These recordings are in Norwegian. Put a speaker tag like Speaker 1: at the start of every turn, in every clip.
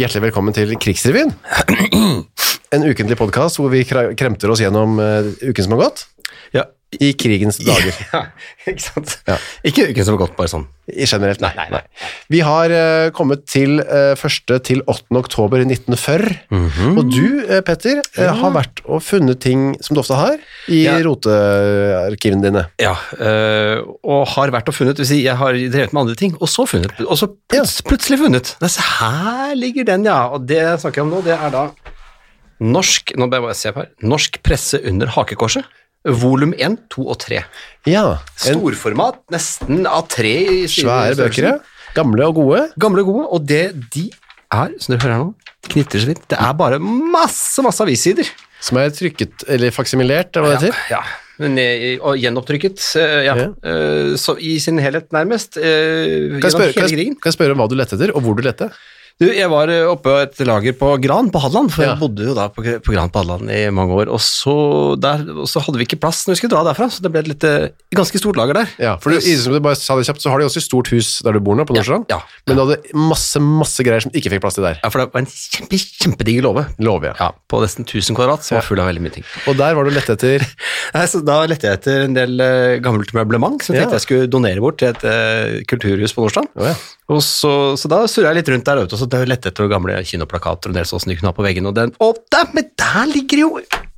Speaker 1: Hjertelig velkommen til Krigsrevyen. En ukentlig podkast hvor vi kra- kremter oss gjennom eh, uken som har gått.
Speaker 2: Ja,
Speaker 1: I krigens dager.
Speaker 2: Ja, ikke sant?
Speaker 1: Ja.
Speaker 2: Ikke uken som har gått, bare sånn.
Speaker 1: I generelt, nei.
Speaker 2: Nei, nei, nei.
Speaker 1: Vi har eh, kommet til eh, 1. til 8. oktober 1940.
Speaker 2: Mhm.
Speaker 1: Og du, eh, Petter, eh, har vært og funnet ting som du ofte har i
Speaker 2: Ja.
Speaker 1: rotearkivene dine.
Speaker 2: Ja, øh, og har vært og funnet, det vil si jeg har drevet med andre ting, og så funnet, og så pluts, plutselig funnet. Det er, så- her ligger den, ja, og det jeg snakker om nå, det er da norsk, nå bare må jeg se opp her, norsk presse under hakekorset, volum 1, 2 og 3.
Speaker 1: Ja, en
Speaker 2: Storformat, nesten A3 i
Speaker 1: svære
Speaker 2: størrelsen.
Speaker 1: bøker. ja. Gamle og gode.
Speaker 2: Gamle og gode, og det de er, som dere hører her nå, knitter så vidt, det er bare masse, masse avissider.
Speaker 1: Som er trykket, eller faksimilert, eller hva det heter.
Speaker 2: Ja, men, eh, og gjenopprykket, eh, ja.
Speaker 1: Ja.
Speaker 2: eh, Så i sin helhet nærmest, eh,
Speaker 1: Kan jeg,
Speaker 2: gjennom
Speaker 1: spørre, kan,
Speaker 2: hele
Speaker 1: jeg,
Speaker 2: krigen.
Speaker 1: kan jeg spørre om hva du lette etter, og hvor du lette?
Speaker 2: Du, jeg var eh, oppe på et lager på Gran på Hadeland, for
Speaker 1: Ja.
Speaker 2: jeg bodde jo da på, på Gran på Hadeland i mange år, og så, der, og så hadde vi ikke plass når vi skulle dra derfra, så det ble et litt, eh, ganske stort lager der.
Speaker 1: Ja, for du, i- som du bare sa det kjapt, så har de også et stort hus der du bor nå, på Nordstrand.
Speaker 2: ja.
Speaker 1: Men du hadde masse, masse greier som ikke fikk plass til der.
Speaker 2: Ja, for det var en kjempe, kjempedigger låve.
Speaker 1: Lover jeg.
Speaker 2: Ja, på nesten 1000 kvadrat, som var full av veldig mye ting.
Speaker 1: Og der var du lette etter
Speaker 2: Nei, så Da lette jeg etter en del eh, gammelt møblement, som jeg
Speaker 1: Ja.
Speaker 2: tenkte jeg skulle donere bort til et eh, kulturhus på Nordstrand.
Speaker 1: Å ja.
Speaker 2: Og så, så da surra jeg litt rundt der ute, og så da lette jeg etter gamle kinoplakater og en del sånn som de kunne ha på veggen, og den Å, der, men der ligger jo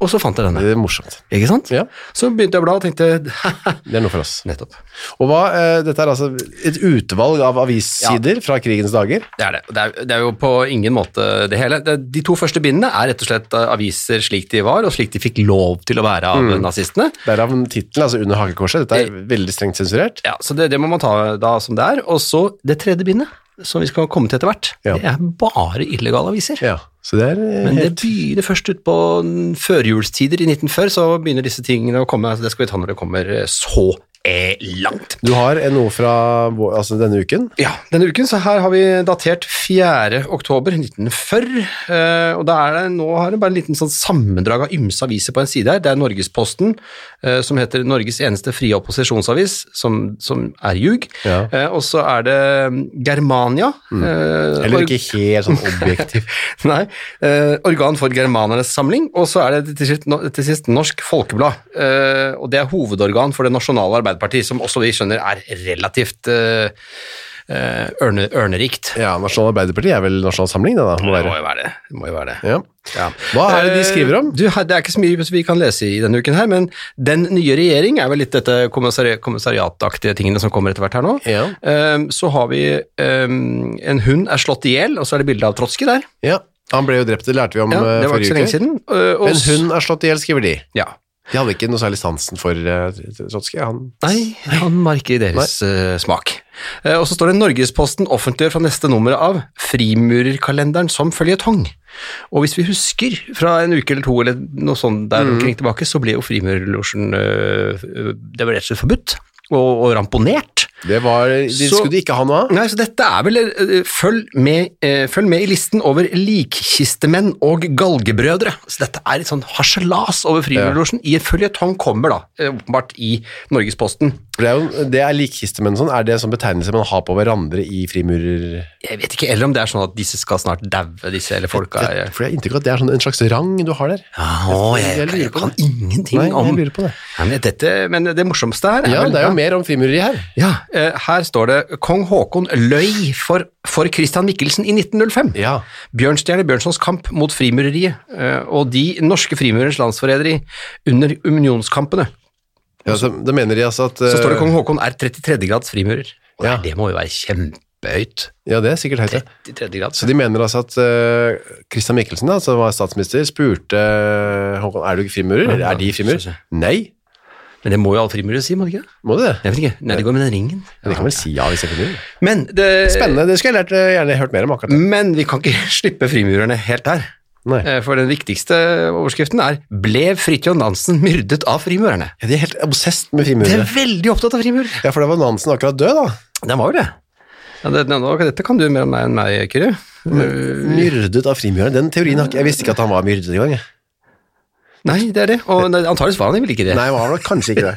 Speaker 2: Og så fant jeg denne.
Speaker 1: Det er morsomt.
Speaker 2: Ikke sant?
Speaker 1: Ja.
Speaker 2: Så begynte jeg å bla og tenkte
Speaker 1: Det er noe for oss.
Speaker 2: Nettopp.
Speaker 1: Og hva, eh, dette er altså et utvalg av avissider fra krigens dager.
Speaker 2: Det er det. Det er, det er jo på ingen måte det hele. Det, de to første bindene er rett og slett eh, aviser slik de var, og slik de fikk lov til å være av
Speaker 1: Mm.
Speaker 2: nazistene.
Speaker 1: Derav tittelen, altså Under hakekorset. Dette
Speaker 2: Eh.
Speaker 1: er veldig strengt sensurert.
Speaker 2: Ja, Så det, det må man ta da som det er. Og så det tredje bindet, som vi skal komme til etter hvert,
Speaker 1: Ja.
Speaker 2: det er bare illegale aviser.
Speaker 1: Ja, så det er eh,
Speaker 2: Men det
Speaker 1: helt
Speaker 2: begynner først ut på n- førjulstider i 1940, så begynner disse tingene å komme. så Det skal vi ta når det kommer eh, så eh, langt.
Speaker 1: Du har eh, noe fra vår- altså, denne uken.
Speaker 2: Ja, denne uken, så her har vi datert 4. oktober 1940, eh, og da er det, nå har det bare en liten sånn sammendrag av ymse aviser på en side her. Det er Norgesposten, eh, som heter Norges eneste frie opposisjonsavis, som, som er ljug.
Speaker 1: Ja.
Speaker 2: Eh, og så er det mm, Germania. eh,
Speaker 1: Eller
Speaker 2: org-
Speaker 1: ikke helt sånn objektiv.
Speaker 2: Nei. eh, organ for germanernes samling, og så er det til sist, no- til sist Norsk Folkeblad. eh, og det er hovedorgan for Det nasjonale Arbeiderparti, som også vi skjønner er relativt eh, eh, ørne, ørnerikt.
Speaker 1: Ja, Nasjonal Arbeiderparti er vel Nasjonal Samling, det da. Må
Speaker 2: Det må
Speaker 1: være.
Speaker 2: jo være det. det, må jo være det.
Speaker 1: Ja.
Speaker 2: Ja.
Speaker 1: Hva er det de skriver om?
Speaker 2: Eh, Du, her- det er ikke så mye vi kan lese i denne uken her, men Den nye regjering er vel litt dette kommissari kommissariataktige tingene som kommer etter hvert her nå.
Speaker 1: Ja.
Speaker 2: Eh, så har vi eh, En hund er slått i hjel, og så er det bilde av Trotskij der.
Speaker 1: ja. Han ble jo drept, det lærte vi om
Speaker 2: Ja,
Speaker 1: eh,
Speaker 2: det var ikke
Speaker 1: forrige
Speaker 2: så lenge
Speaker 1: uke.
Speaker 2: siden. Eh, og
Speaker 1: Men
Speaker 2: s-
Speaker 1: hun er slått i hjel, skriver de.
Speaker 2: Ja.
Speaker 1: De hadde ikke noe særlig sansen for eh, Trotskij. Han
Speaker 2: Nei, han var ikke i deres eh, smak. Eh, og så står det Norgesposten offentliggjør fra neste nummer av Frimurerkalenderen som føljetong. Og hvis vi husker fra en uke eller to eller noe sånt der omkring tilbake, så ble jo Frimurerlosjen eh, Det var rett og slett forbudt og, og ramponert.
Speaker 1: Det var, eh, de
Speaker 2: Så-
Speaker 1: skulle de ikke ha noe av.
Speaker 2: Nei, så dette er vel eh, følg, med, eh, følg med i listen over likkistemenn og galgebrødre. Så dette er et sånn harselas over Frimurerlosjen i en føljetong kommer, da, eh, åpenbart i Norgesposten.
Speaker 1: For Det er, jo, det er likkistemenn og sånn. Er det en sånn betegnelse man har på hverandre i frimurer...
Speaker 2: Jeg vet ikke, eller om det er sånn at disse skal snart daue, disse eller folka.
Speaker 1: Det, for jeg har inntrykk av at det er sånn en slags rang du har der.
Speaker 2: Ja, å, jeg,
Speaker 1: Jeg
Speaker 2: jeg,
Speaker 1: lurer på
Speaker 2: kan
Speaker 1: det.
Speaker 2: ingenting
Speaker 1: Nei,
Speaker 2: om
Speaker 1: jeg lurer på det.
Speaker 2: Ja, men, dette, men det morsomste her
Speaker 1: Ja,
Speaker 2: vel-
Speaker 1: det er jo mer om frimureri her.
Speaker 2: ja, eh, her står det 'Kong Haakon løy for, for Christian Michelsen i 1905'.
Speaker 1: Ja.
Speaker 2: Bjørnstjerne Bjørnsons kamp mot frimureriet eh, og de norske frimurernes landsforræderi under unionskampene.
Speaker 1: ja så, da mener de altså at
Speaker 2: Så står det
Speaker 1: eh,
Speaker 2: 'Kong Haakon er 33. grads frimurer'. Og
Speaker 1: Ja.
Speaker 2: Det må jo være kjempehøyt.
Speaker 1: Ja, det er sikkert høyt. ja.
Speaker 2: 33 grads.
Speaker 1: Så de mener altså at eh, Christian Michelsen, da, som var statsminister, spurte eh, Håkon er du ikke frimurer, eller er de
Speaker 2: så-
Speaker 1: frimurer?
Speaker 2: så-
Speaker 1: Nei,
Speaker 2: Men det må jo alle frimurere si, må det ikke det?
Speaker 1: må du det?
Speaker 2: Jeg vet ikke. Nei, det går med den ringen.
Speaker 1: Men de kan vel si ja hvis jeg er frimurer?
Speaker 2: Men det,
Speaker 1: Spennende, det skulle jeg lært, eh, gjerne hørt mer om akkurat det.
Speaker 2: Men vi kan ikke slippe frimurerne helt der.
Speaker 1: Nei.
Speaker 2: Eh, For den viktigste overskriften er 'Ble Fridtjof Nansen myrdet av frimurerne'?
Speaker 1: Ja, de er helt obsesst med
Speaker 2: De er
Speaker 1: frimurere.
Speaker 2: veldig opptatt av frimurere.
Speaker 1: Ja, for da var Nansen akkurat død, da.
Speaker 2: Den var jo det. Ja, det, nå- dette kan du mer om meg enn meg, Kyrre.
Speaker 1: Myrdet av frimureren. Den teorien har ikke Jeg visste ikke at han var myrdet engang. jeg.
Speaker 2: Nei, det er det. Og antakeligvis var han vel ikke det.
Speaker 1: Nei, han var nok kanskje ikke det.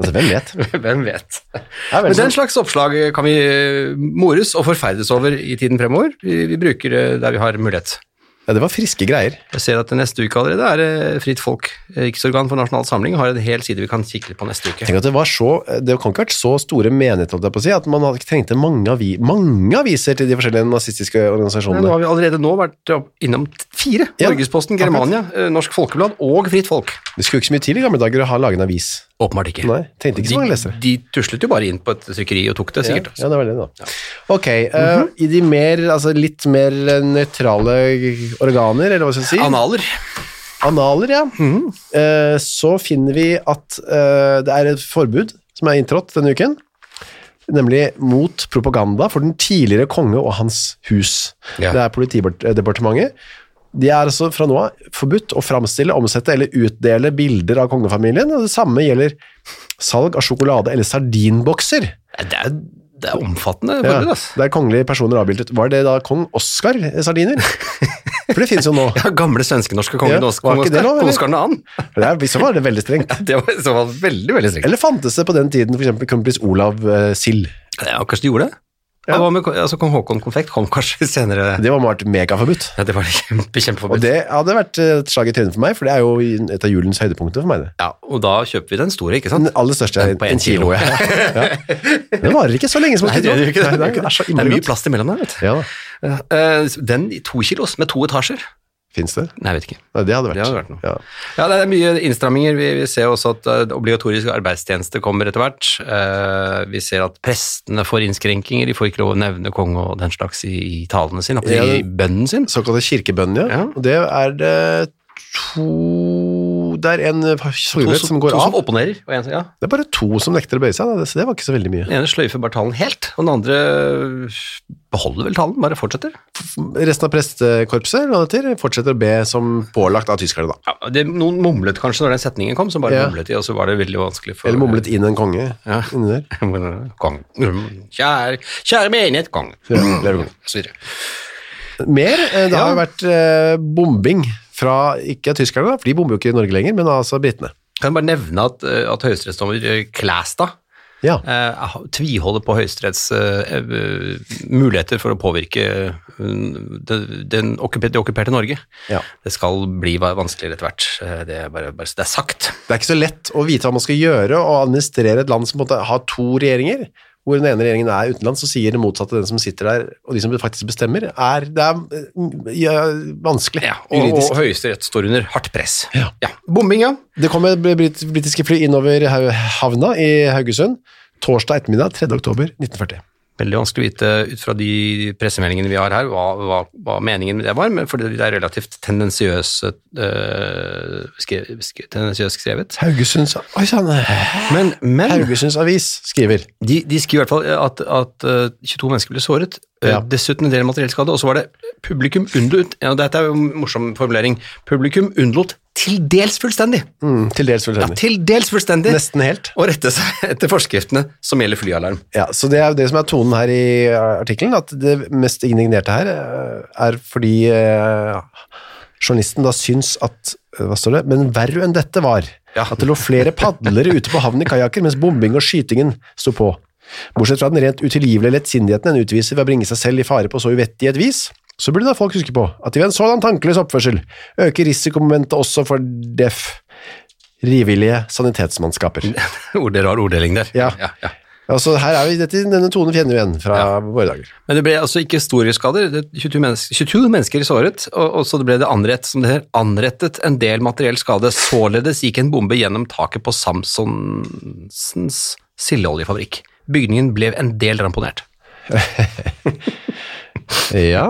Speaker 1: Altså, hvem vet?
Speaker 2: Hvem vet.
Speaker 1: Ja, vel,
Speaker 2: Men den
Speaker 1: sånn.
Speaker 2: slags oppslag kan vi eh, mores og forferdes over i tiden fremover. Vi, vi bruker det der vi har mulighet.
Speaker 1: ja, det var friske greier.
Speaker 2: Jeg ser at neste uke allerede er eh, Fritt Folk, eh, Riksorgan for nasjonal samling, har en hel side vi kan kikke litt på neste uke.
Speaker 1: Tenk at Det var så, det kan ikke ha vært så store menigheter holdt jeg på å si, at man hadde ikke trengte mange, avi, mange aviser til de forskjellige nazistiske
Speaker 2: Nei, nå
Speaker 1: organisasjonene.
Speaker 2: har vi allerede nå vært opp- innom t- fire.
Speaker 1: Ja,
Speaker 2: Norgesposten, Germania, eh, Norsk Folkeblad og Fritt Folk.
Speaker 1: Det skulle ikke så mye til i gamle dager å ha laget en avis.
Speaker 2: Åpenbart ikke.
Speaker 1: Nei, trengte ikke så mange
Speaker 2: de,
Speaker 1: lesere.
Speaker 2: de tuslet jo bare inn på et trykkeri og tok det, sikkert.
Speaker 1: Ja, ja, det var det, da. Ok, eh, i de mer, altså litt mer nøytrale organer, eller hva skal jeg si?
Speaker 2: Analer.
Speaker 1: Analer, ja.
Speaker 2: Mhm.
Speaker 1: Eh, så finner vi at eh, det er et forbud som er inntrådt denne uken, nemlig mot propaganda for den tidligere konge og hans hus.
Speaker 2: Ja.
Speaker 1: Det er politidepartementet. De er altså fra nå av forbudt å framstille, omsette eller utdele bilder av kongefamilien, og det samme gjelder salg av sjokolade eller sardinbokser.
Speaker 2: Nei, Det er, det er omfattende
Speaker 1: Ja,
Speaker 2: forbud, altså.
Speaker 1: der kongelige personer er avbildet. Var det da kong Oskar sardiner? For det finnes jo nå.
Speaker 2: Ja, gamle svenske-norske kongen
Speaker 1: Ja,
Speaker 2: ja,
Speaker 1: var
Speaker 2: kong
Speaker 1: ikke det
Speaker 2: Oskar
Speaker 1: lov, eller?
Speaker 2: kong Oskar 2.
Speaker 1: For det er- I så fall er det veldig strengt.
Speaker 2: Det var i så fall veldig, veldig strengt.
Speaker 1: Eller fantes det på den tiden for eksempel kronprins Olav eh, Sild?
Speaker 2: Ja, kanskje de gjorde det?
Speaker 1: Ja.
Speaker 2: Ja. Hva med, altså, kong Haakon Konfekt kom kanskje senere.
Speaker 1: Det var vært megaforbudt.
Speaker 2: Ja, det var kjempe,
Speaker 1: Og
Speaker 2: kjempeforbudt.
Speaker 1: det hadde vært eh, et slag i trynet for meg, for det er jo i- et av julens høydepunkter for meg. det.
Speaker 2: Ja, og da kjøper vi den store, ikke sant?
Speaker 1: Den aller største er
Speaker 2: På en
Speaker 1: en kilo.
Speaker 2: kilo.
Speaker 1: ja. Ja. Den varer ikke så lenge som man
Speaker 2: Nei,
Speaker 1: skulle
Speaker 2: det
Speaker 1: tro.
Speaker 2: gjør jo ikke det.
Speaker 1: Nei, det er så
Speaker 2: det er
Speaker 1: innmari
Speaker 2: mye
Speaker 1: godt.
Speaker 2: plass imellom der, vet du.
Speaker 1: Ja da.
Speaker 2: Eh, Den i to kilos, med to etasjer.
Speaker 1: Fins det?
Speaker 2: Nei, jeg vet ikke.
Speaker 1: Nei, det hadde vært.
Speaker 2: Det hadde vært noe.
Speaker 1: Ja.
Speaker 2: Ja, det er mye innstramminger. Vi, vi ser også at eh, obligatorisk arbeidstjeneste kommer etter hvert. Eh, vi ser at prestene får innskrenkinger. De får ikke lov å nevne konge og den slags i, i talene sine,
Speaker 1: Ja,
Speaker 2: i
Speaker 1: det-
Speaker 2: bønnen sin.
Speaker 1: Såkalte kirkebønn, ja.
Speaker 2: Ja.
Speaker 1: Og det er det to Det er en sorgvett som går
Speaker 2: to som
Speaker 1: av.
Speaker 2: opponerer, og en som, ja.
Speaker 1: Det er bare to som nekter å bøye seg, da. så det var ikke så veldig mye.
Speaker 2: Den ene sløyfer bare talen helt, og den andre øh, beholder vel talen, bare fortsetter.
Speaker 1: Resten av prestekorpset eller hva det heter, fortsetter å be som pålagt av tyskerne, da.
Speaker 2: Ja, det, noen mumlet kanskje når den setningen kom, som bare
Speaker 1: Ja.
Speaker 2: mumlet de, og så var det veldig vanskelig for
Speaker 1: Eller mumlet inn en konge
Speaker 2: Ja.
Speaker 1: inni der.
Speaker 2: Kong. Mm, Kjære, kjære menighet, kong.
Speaker 1: Ja, lever kongen.
Speaker 2: Så videre.
Speaker 1: Mer. eh, Det har
Speaker 2: Ja.
Speaker 1: jo vært eh, bombing fra ikke av tyskerne, da, for de bomber jo ikke i Norge lenger, men altså britene.
Speaker 2: Kan jeg bare nevne at, eh, at høyesterettsdommer eh, Klæstad
Speaker 1: Ja.
Speaker 2: eh, ha- tviholder på Høyesteretts eh, eh, muligheter for å påvirke eh, det, den okkuperte, det okkuperte Norge.
Speaker 1: Ja.
Speaker 2: Det skal bli va- vanskeligere etter hvert. Eh, Det er, bare, bare, så det er sagt.
Speaker 1: Det er ikke så lett å vite hva man skal gjøre og administrere et land som på en måte har to regjeringer, hvor den ene regjeringen er utenlands, og sier det motsatte den som sitter der, og de som faktisk bestemmer, er, det er eh, ja, vanskelig,
Speaker 2: Ja, og,
Speaker 1: juridisk.
Speaker 2: og Høyesterett står under hardt press.
Speaker 1: Ja.
Speaker 2: Bombing, ja.
Speaker 1: Det kom et brit britiske fly innover hau- havna i Haugesund, torsdag ettermiddag, 3. oktober 1940.
Speaker 2: Veldig vanskelig å vite ut fra de pressemeldingene vi har her, hva, hva, hva meningen med det var, men fordi det er relativt tendensiøst øh, skre, skre, tendensiøst skrevet.
Speaker 1: Haugesunds, oi, sann,
Speaker 2: Men, men
Speaker 1: Haugesunds avis skriver,
Speaker 2: de, de skriver i hvert fall at, at øh, 22 mennesker ble såret, øh,
Speaker 1: Ja.
Speaker 2: dessuten en del materiell skade, og så var det publikum unnlot ja, Dette er jo en morsom formulering. Publikum unnlot til dels fullstendig.
Speaker 1: mm, til dels
Speaker 2: Ja,
Speaker 1: fullstendig.
Speaker 2: til dels fullstendig.
Speaker 1: Nesten helt.
Speaker 2: Å rette seg etter forskriftene som gjelder flyalarm.
Speaker 1: Ja, så det er jo det som er tonen her i eh, artikkelen, at det mest indignerte her eh, er fordi eh, journalisten da syns at eh, hva står det? Men verre enn dette var
Speaker 2: Ja.
Speaker 1: at det lå flere padlere ute på havnen i kajakker, mens bombing og skytingen sto på. Bortsett fra den rent utilgivelige lettsindigheten en utviser ved å bringe seg selv i fare på så uvettig et vis, så burde da folk huske på at de ved en sådan tankeløs oppførsel øker risikomomentet også for deff, rivillige sanitetsmannskaper.
Speaker 2: Ord- det er Rar orddeling der.
Speaker 1: Ja.
Speaker 2: Ja, ja.
Speaker 1: Altså, her er vi, dette, denne tonen kjenner vi igjen fra våre dager.
Speaker 2: Men det ble altså ikke store skader. Det- 22 mennesker, 22 mennesker såret, og, og så ble det anrett, som det her, anrettet en del materiell skade. Således gikk en bombe gjennom taket på Samsonsens sildeoljefabrikk. Bygningen ble en del ramponert.
Speaker 1: Ja.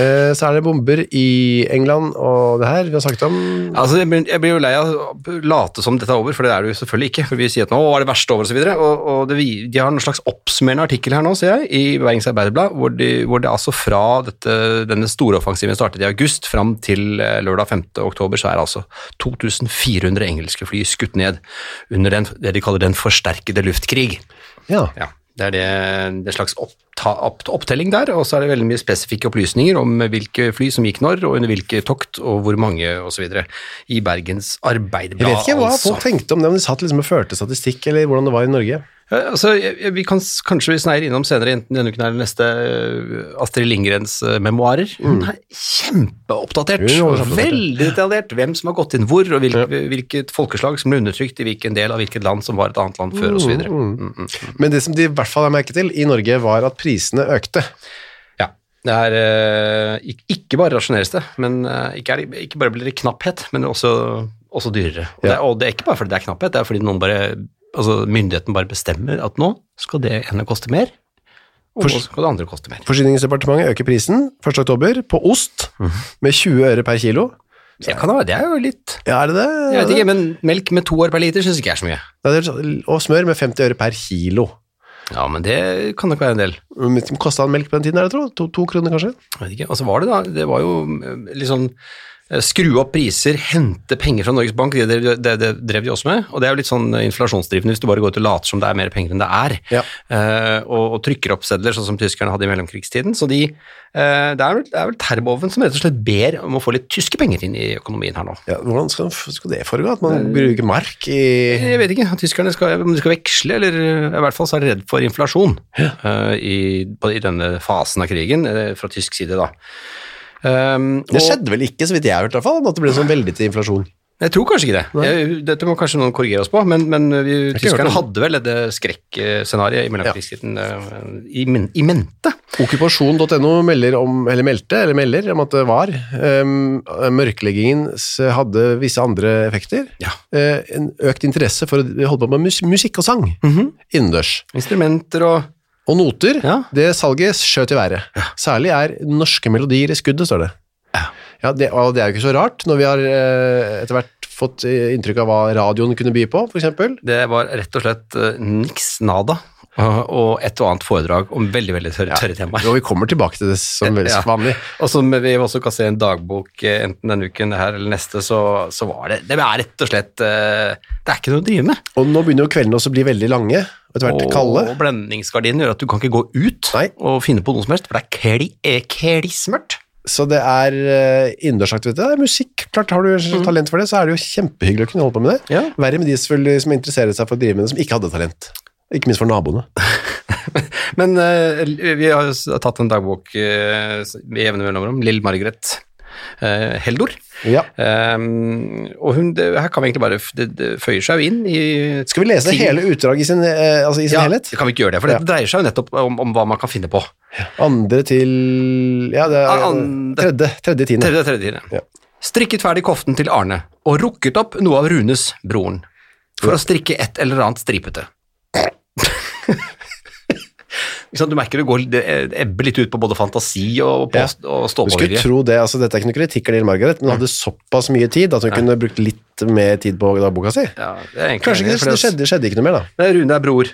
Speaker 1: Eh, Så er det bomber i England og det her vi har snakket om.
Speaker 2: Altså, jeg blir, jeg blir jo lei av å late som dette er over, for det er det jo selvfølgelig ikke. For vi sier at nå er det verste over, og så videre. Og, og det, vi- de har en slags oppsummerende artikkel her nå, ser jeg, i Bergens Arbeiderblad, hvor, de, hvor det altså fra dette, denne store offensiven startet i august fram til eh, lørdag 5. oktober, så er altså 2400 engelske fly skutt ned under den, det de kaller den forsterkede luftkrig.
Speaker 1: Ja.
Speaker 2: Ja, det er det, det er slags oppta, opp, opptelling der, og så er det veldig mye spesifikke opplysninger om hvilke fly som gikk når, og under hvilke tokt, og hvor mange, osv. I Bergens
Speaker 1: Jeg
Speaker 2: Arbeiderblad, altså.
Speaker 1: vet ikke hva folk tenkte om det, om de satt liksom og førte statistikk, eller hvordan det var i Norge.
Speaker 2: Ja, altså, jeg- jeg- vi kan s- kanskje vi sneier innom senere, enten denne uken eller neste, øh, Astrid Lindgrens øh, memoarer. Hun er kjempeoppdatert,
Speaker 1: Mm. Hun er
Speaker 2: og
Speaker 1: overoppdatert,
Speaker 2: veldig detaljert. Hvem som har gått inn hvor, og hvilke, hvilket folkeslag som ble undertrykt i hvilken del av hvilket land som var et annet land før, osv. Mm, mm.
Speaker 1: Men det som de i hvert fall har merket til i Norge, var at prisene økte.
Speaker 2: Ja. Det er eh, ik- ikke bare rasjoneres det, men eh, ikke, er, ikke bare blir det knapphet, men også, også dyrere. Og, det,
Speaker 1: Ja.
Speaker 2: er- og det er ikke bare fordi det er knapphet, det er fordi noen bare, altså myndigheten bare bestemmer at nå skal det ene koste mer, og nå skal det andre koste mer.
Speaker 1: Forsyningsdepartementet øker prisen 1. oktober på ost med 20 øre per kilo.
Speaker 2: Det, kan, være- det er jo litt
Speaker 1: Ja, er det det?
Speaker 2: Jeg vet ikke, men melk med to år per liter syns ikke jeg er så mye.
Speaker 1: Nei, det er sånn- og smør med 50 øre per kilo.
Speaker 2: Ja, men det kan nok være en del.
Speaker 1: Hvor Kosta en melk på den tiden, er det tro? To, to kroner kanskje?
Speaker 2: Jeg vet ikke, altså var det da, det var jo eh, litt sånn eh, skru opp priser, hente penger fra Norges Bank, det, drev- det, det drev de også med, og det er jo litt sånn eh, inflasjonsdrivende hvis du bare går ut og later som det er mer penger enn det er,
Speaker 1: Ja.
Speaker 2: Eh, og, og trykker opp sedler sånn som tyskerne hadde i mellomkrigstiden, så de, eh, det, er vel, det er vel terboven som rett og slett ber om å få litt tyske penger inn i økonomien her nå.
Speaker 1: Ja, hvordan skal, skal det foregå? At man bruker mark i
Speaker 2: Jeg vet ikke, tyskerne skal, om de skal veksle, eller eh, i hvert fall så er de redd for inflasjon eh, i, på, i denne fasen av krigen, eh, fra tysk side da. Um,
Speaker 1: Det
Speaker 2: og-
Speaker 1: skjedde vel ikke, så vidt jeg har hørt i hvert fall, at det ble sånn veldig til inflasjon.
Speaker 2: Jeg tror kanskje ikke det. Jeg, dette må kanskje noen korrigere oss på, men, men eh, vi,
Speaker 1: ikke hørt
Speaker 2: tyskerne
Speaker 1: om
Speaker 2: hadde vel dette skrekkscenarioet i mellomkrigstiden eh, i, men- i mente.
Speaker 1: Okkupasjon.no melder om, eller meldte, eller melder om at det var. Um, mørkleggingen s- hadde visse andre effekter.
Speaker 2: Ja.
Speaker 1: Eh, en økt interesse for å holde på med mus musikk og sang innendørs.
Speaker 2: Instrumenter og
Speaker 1: Og noter,
Speaker 2: Ja.
Speaker 1: det salget skjøt i været. Særlig er norske melodier i skuddet, står det. Ja, det, og det er jo ikke så rart, når vi har eh, etter hvert fått eh, inntrykk av hva radioen kunne by på, for eksempel.
Speaker 2: Det var rett og slett eh, niks nada og og et og annet foredrag om veldig, veldig tørre, tørre temaer.
Speaker 1: Og vi kommer tilbake til det som veldig
Speaker 2: Ja.
Speaker 1: vanlig.
Speaker 2: Og som vi også kan se i en dagbok, eh, enten denne uken her eller neste, så, så var det Det er rett og slett eh, Det er ikke noe å drive med.
Speaker 1: Og nå begynner jo kveldene også å bli veldig lange, og etter hvert kalde.
Speaker 2: Og blendingsgardinen gjør at du kan ikke gå ut
Speaker 1: Nei.
Speaker 2: og finne på noe som helst, for det er kli- eh, klissmørkt.
Speaker 1: Så det er eh, innendørsaktivitet. Det er musikk. Klart har du talent for det, så er det jo kjempehyggelig å kunne holde på med det.
Speaker 2: Mm. Ja.
Speaker 1: Verre med de selvfølgelig som interesserer seg for å drive med det, som ikke hadde talent. Ikke minst for naboene.
Speaker 2: Men eh, vi har jo s- tatt en dagbok eh, s- med jevne mellomrom. Lill Margaret eh, Heldor.
Speaker 1: Ja.
Speaker 2: Ehm, og hun, det, her kan vi egentlig bare f- det, det føyer seg jo inn i
Speaker 1: Skal vi lese
Speaker 2: Ting-
Speaker 1: hele utdraget i sin, eh, altså i sin
Speaker 2: ja,
Speaker 1: helhet?
Speaker 2: Kan vi ikke gjøre det? For det dreier seg jo nettopp om, om hva man kan finne på.
Speaker 1: Andre til Ja, det er
Speaker 2: An-
Speaker 1: tredje, tredje tiende.
Speaker 2: Ah, Tredje, tredje tiden.
Speaker 1: Ja.
Speaker 2: Strikket ferdig koften til Arne, og rukket opp noe av Runes, broren, for å strikke et eller annet stripete. Ikke sant, du merker det går det ebber litt ut på både fantasi og, på, og
Speaker 1: Du skulle
Speaker 2: ståpåvilje.
Speaker 1: tro det, altså Dette er ikke noe kritikk av Lill Margaret, men hun hadde
Speaker 2: Mm.
Speaker 1: såpass mye tid at hun kunne brukt litt mer tid på dagboka si.
Speaker 2: Ja, det er egentlig
Speaker 1: Kanskje
Speaker 2: enig,
Speaker 1: ikke,
Speaker 2: for
Speaker 1: det skjedde, skjedde ikke noe mer, da.
Speaker 2: Nei, Rune er bror.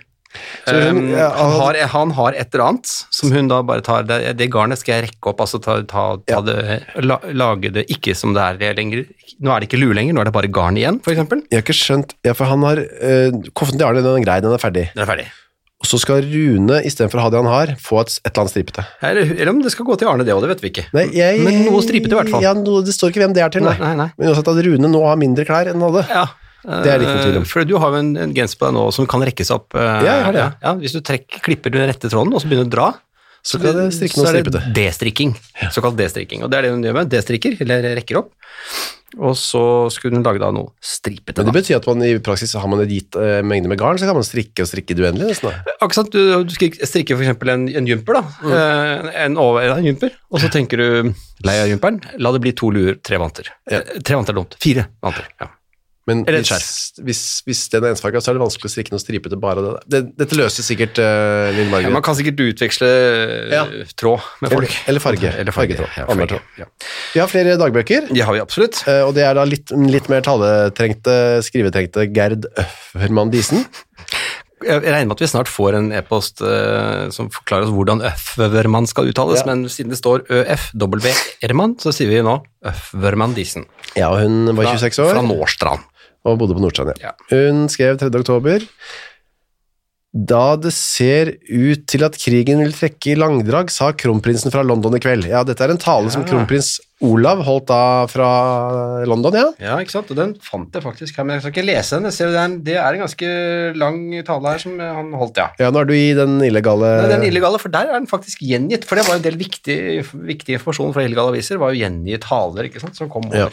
Speaker 1: Så hun-
Speaker 2: Um,
Speaker 1: ja,
Speaker 2: han,
Speaker 1: Ehm, han-
Speaker 2: har, han har et eller annet som hun da bare tar Det, det garnet skal jeg rekke opp, altså ta, ta, ta
Speaker 1: Ja.
Speaker 2: det, la, lage det ikke som det er lenger. Nå er det ikke lue lenger, nå er det bare garn igjen, for eksempel.
Speaker 1: Jeg har ikke skjønt Ja, for han har eh, Koften til Arne, den er grei, den er ferdig.
Speaker 2: Den er ferdig.
Speaker 1: Og så skal Rune, istedenfor å ha det han har, få et, et eller annet stripete.
Speaker 2: Eller, eller om det skal gå til Arne, det òg, det vet vi ikke.
Speaker 1: Nei, jeg-
Speaker 2: Men noe stripete i hvert fall.
Speaker 1: Ja, noe, det står ikke hvem det er til, nei.
Speaker 2: Nei, nei, nei.
Speaker 1: Men uansett at Rune nå har mindre klær enn han hadde.
Speaker 2: Ja.
Speaker 1: Det er det ikke noe tvil om.
Speaker 2: Eh, For du har jo en, en genser på deg nå som kan rekkes opp. eh,
Speaker 1: jeg har det.
Speaker 2: Ja, ja. Hvis du trekker, klipper den rette tråden og så begynner du å dra, så,
Speaker 1: kan det strikke noe
Speaker 2: så er det
Speaker 1: stripete.
Speaker 2: destrikking. Såkalt destrikking. Og det er det hun gjør med. Destrikker, eller rekker opp. Og så skulle hun lage da noe stripete.
Speaker 1: Men det
Speaker 2: Da.
Speaker 1: betyr at man i praksis har man en gitt eh, mengde med garn, så kan man strikke og strikke det uendelig. nesten, da.
Speaker 2: Akkurat sant, du, du strik- strikker f.eks. En, en jumper, da.
Speaker 1: Mm.
Speaker 2: Eh, En, over, ja, en jumper. Og så tenker du, lei av jumperen, la det bli to luer, tre vanter. Eh, Tre vanter er dumt. Fire vanter. ja.
Speaker 1: Men
Speaker 2: Eller et
Speaker 1: hvis, hvis, hvis den er ensfarga, så er det vanskelig å strikke noe stripete bare av det. der. Det, dette løser sikkert eh, Lille
Speaker 2: Ja,
Speaker 1: Margaret.
Speaker 2: man kan sikkert utveksle eh,
Speaker 1: Ja.
Speaker 2: tråd med
Speaker 1: Eller-
Speaker 2: folk.
Speaker 1: eller farge.
Speaker 2: Eller farge.
Speaker 1: Fargetråd.
Speaker 2: Ja,
Speaker 1: Annen
Speaker 2: farge.
Speaker 1: tråd.
Speaker 2: Ja.
Speaker 1: Vi har flere dagbøker,
Speaker 2: Det har vi absolutt.
Speaker 1: eh, og det er da litt, litt mer taletrengte, skrivetrengte Gerd Øffermann Disen.
Speaker 2: Jeg regner med at vi snart får en e-post eh, som forklarer oss hvordan Øfverman skal uttales,
Speaker 1: Ja.
Speaker 2: men siden det står ØFW-Erman, så sier vi nå Øfverman Disen.
Speaker 1: Ja, og hun var 26 år.
Speaker 2: Fra Nordstrand.
Speaker 1: og bodde på Nordstrand, ja.
Speaker 2: Ja.
Speaker 1: Hun skrev 3. oktober Da det ser ut til at krigen vil trekke i langdrag, sa kronprinsen fra London i kveld. Ja, dette er en tale som
Speaker 2: Ja.
Speaker 1: kronprins Olav holdt da fra London, ja.
Speaker 2: Ja, ikke sant? Og den fant jeg faktisk her, men jeg skal ikke lese den. Jeg ser jo Det er en, det er en ganske lang tale her som han holdt, ja.
Speaker 1: Ja, nå er du i den illegale
Speaker 2: Nei, den illegale, for der er den faktisk gjengitt. For det var en del viktig, viktig informasjon fra illegale aviser, var jo gjengitt taler, ikke sant, som kom
Speaker 1: Ja.
Speaker 2: over.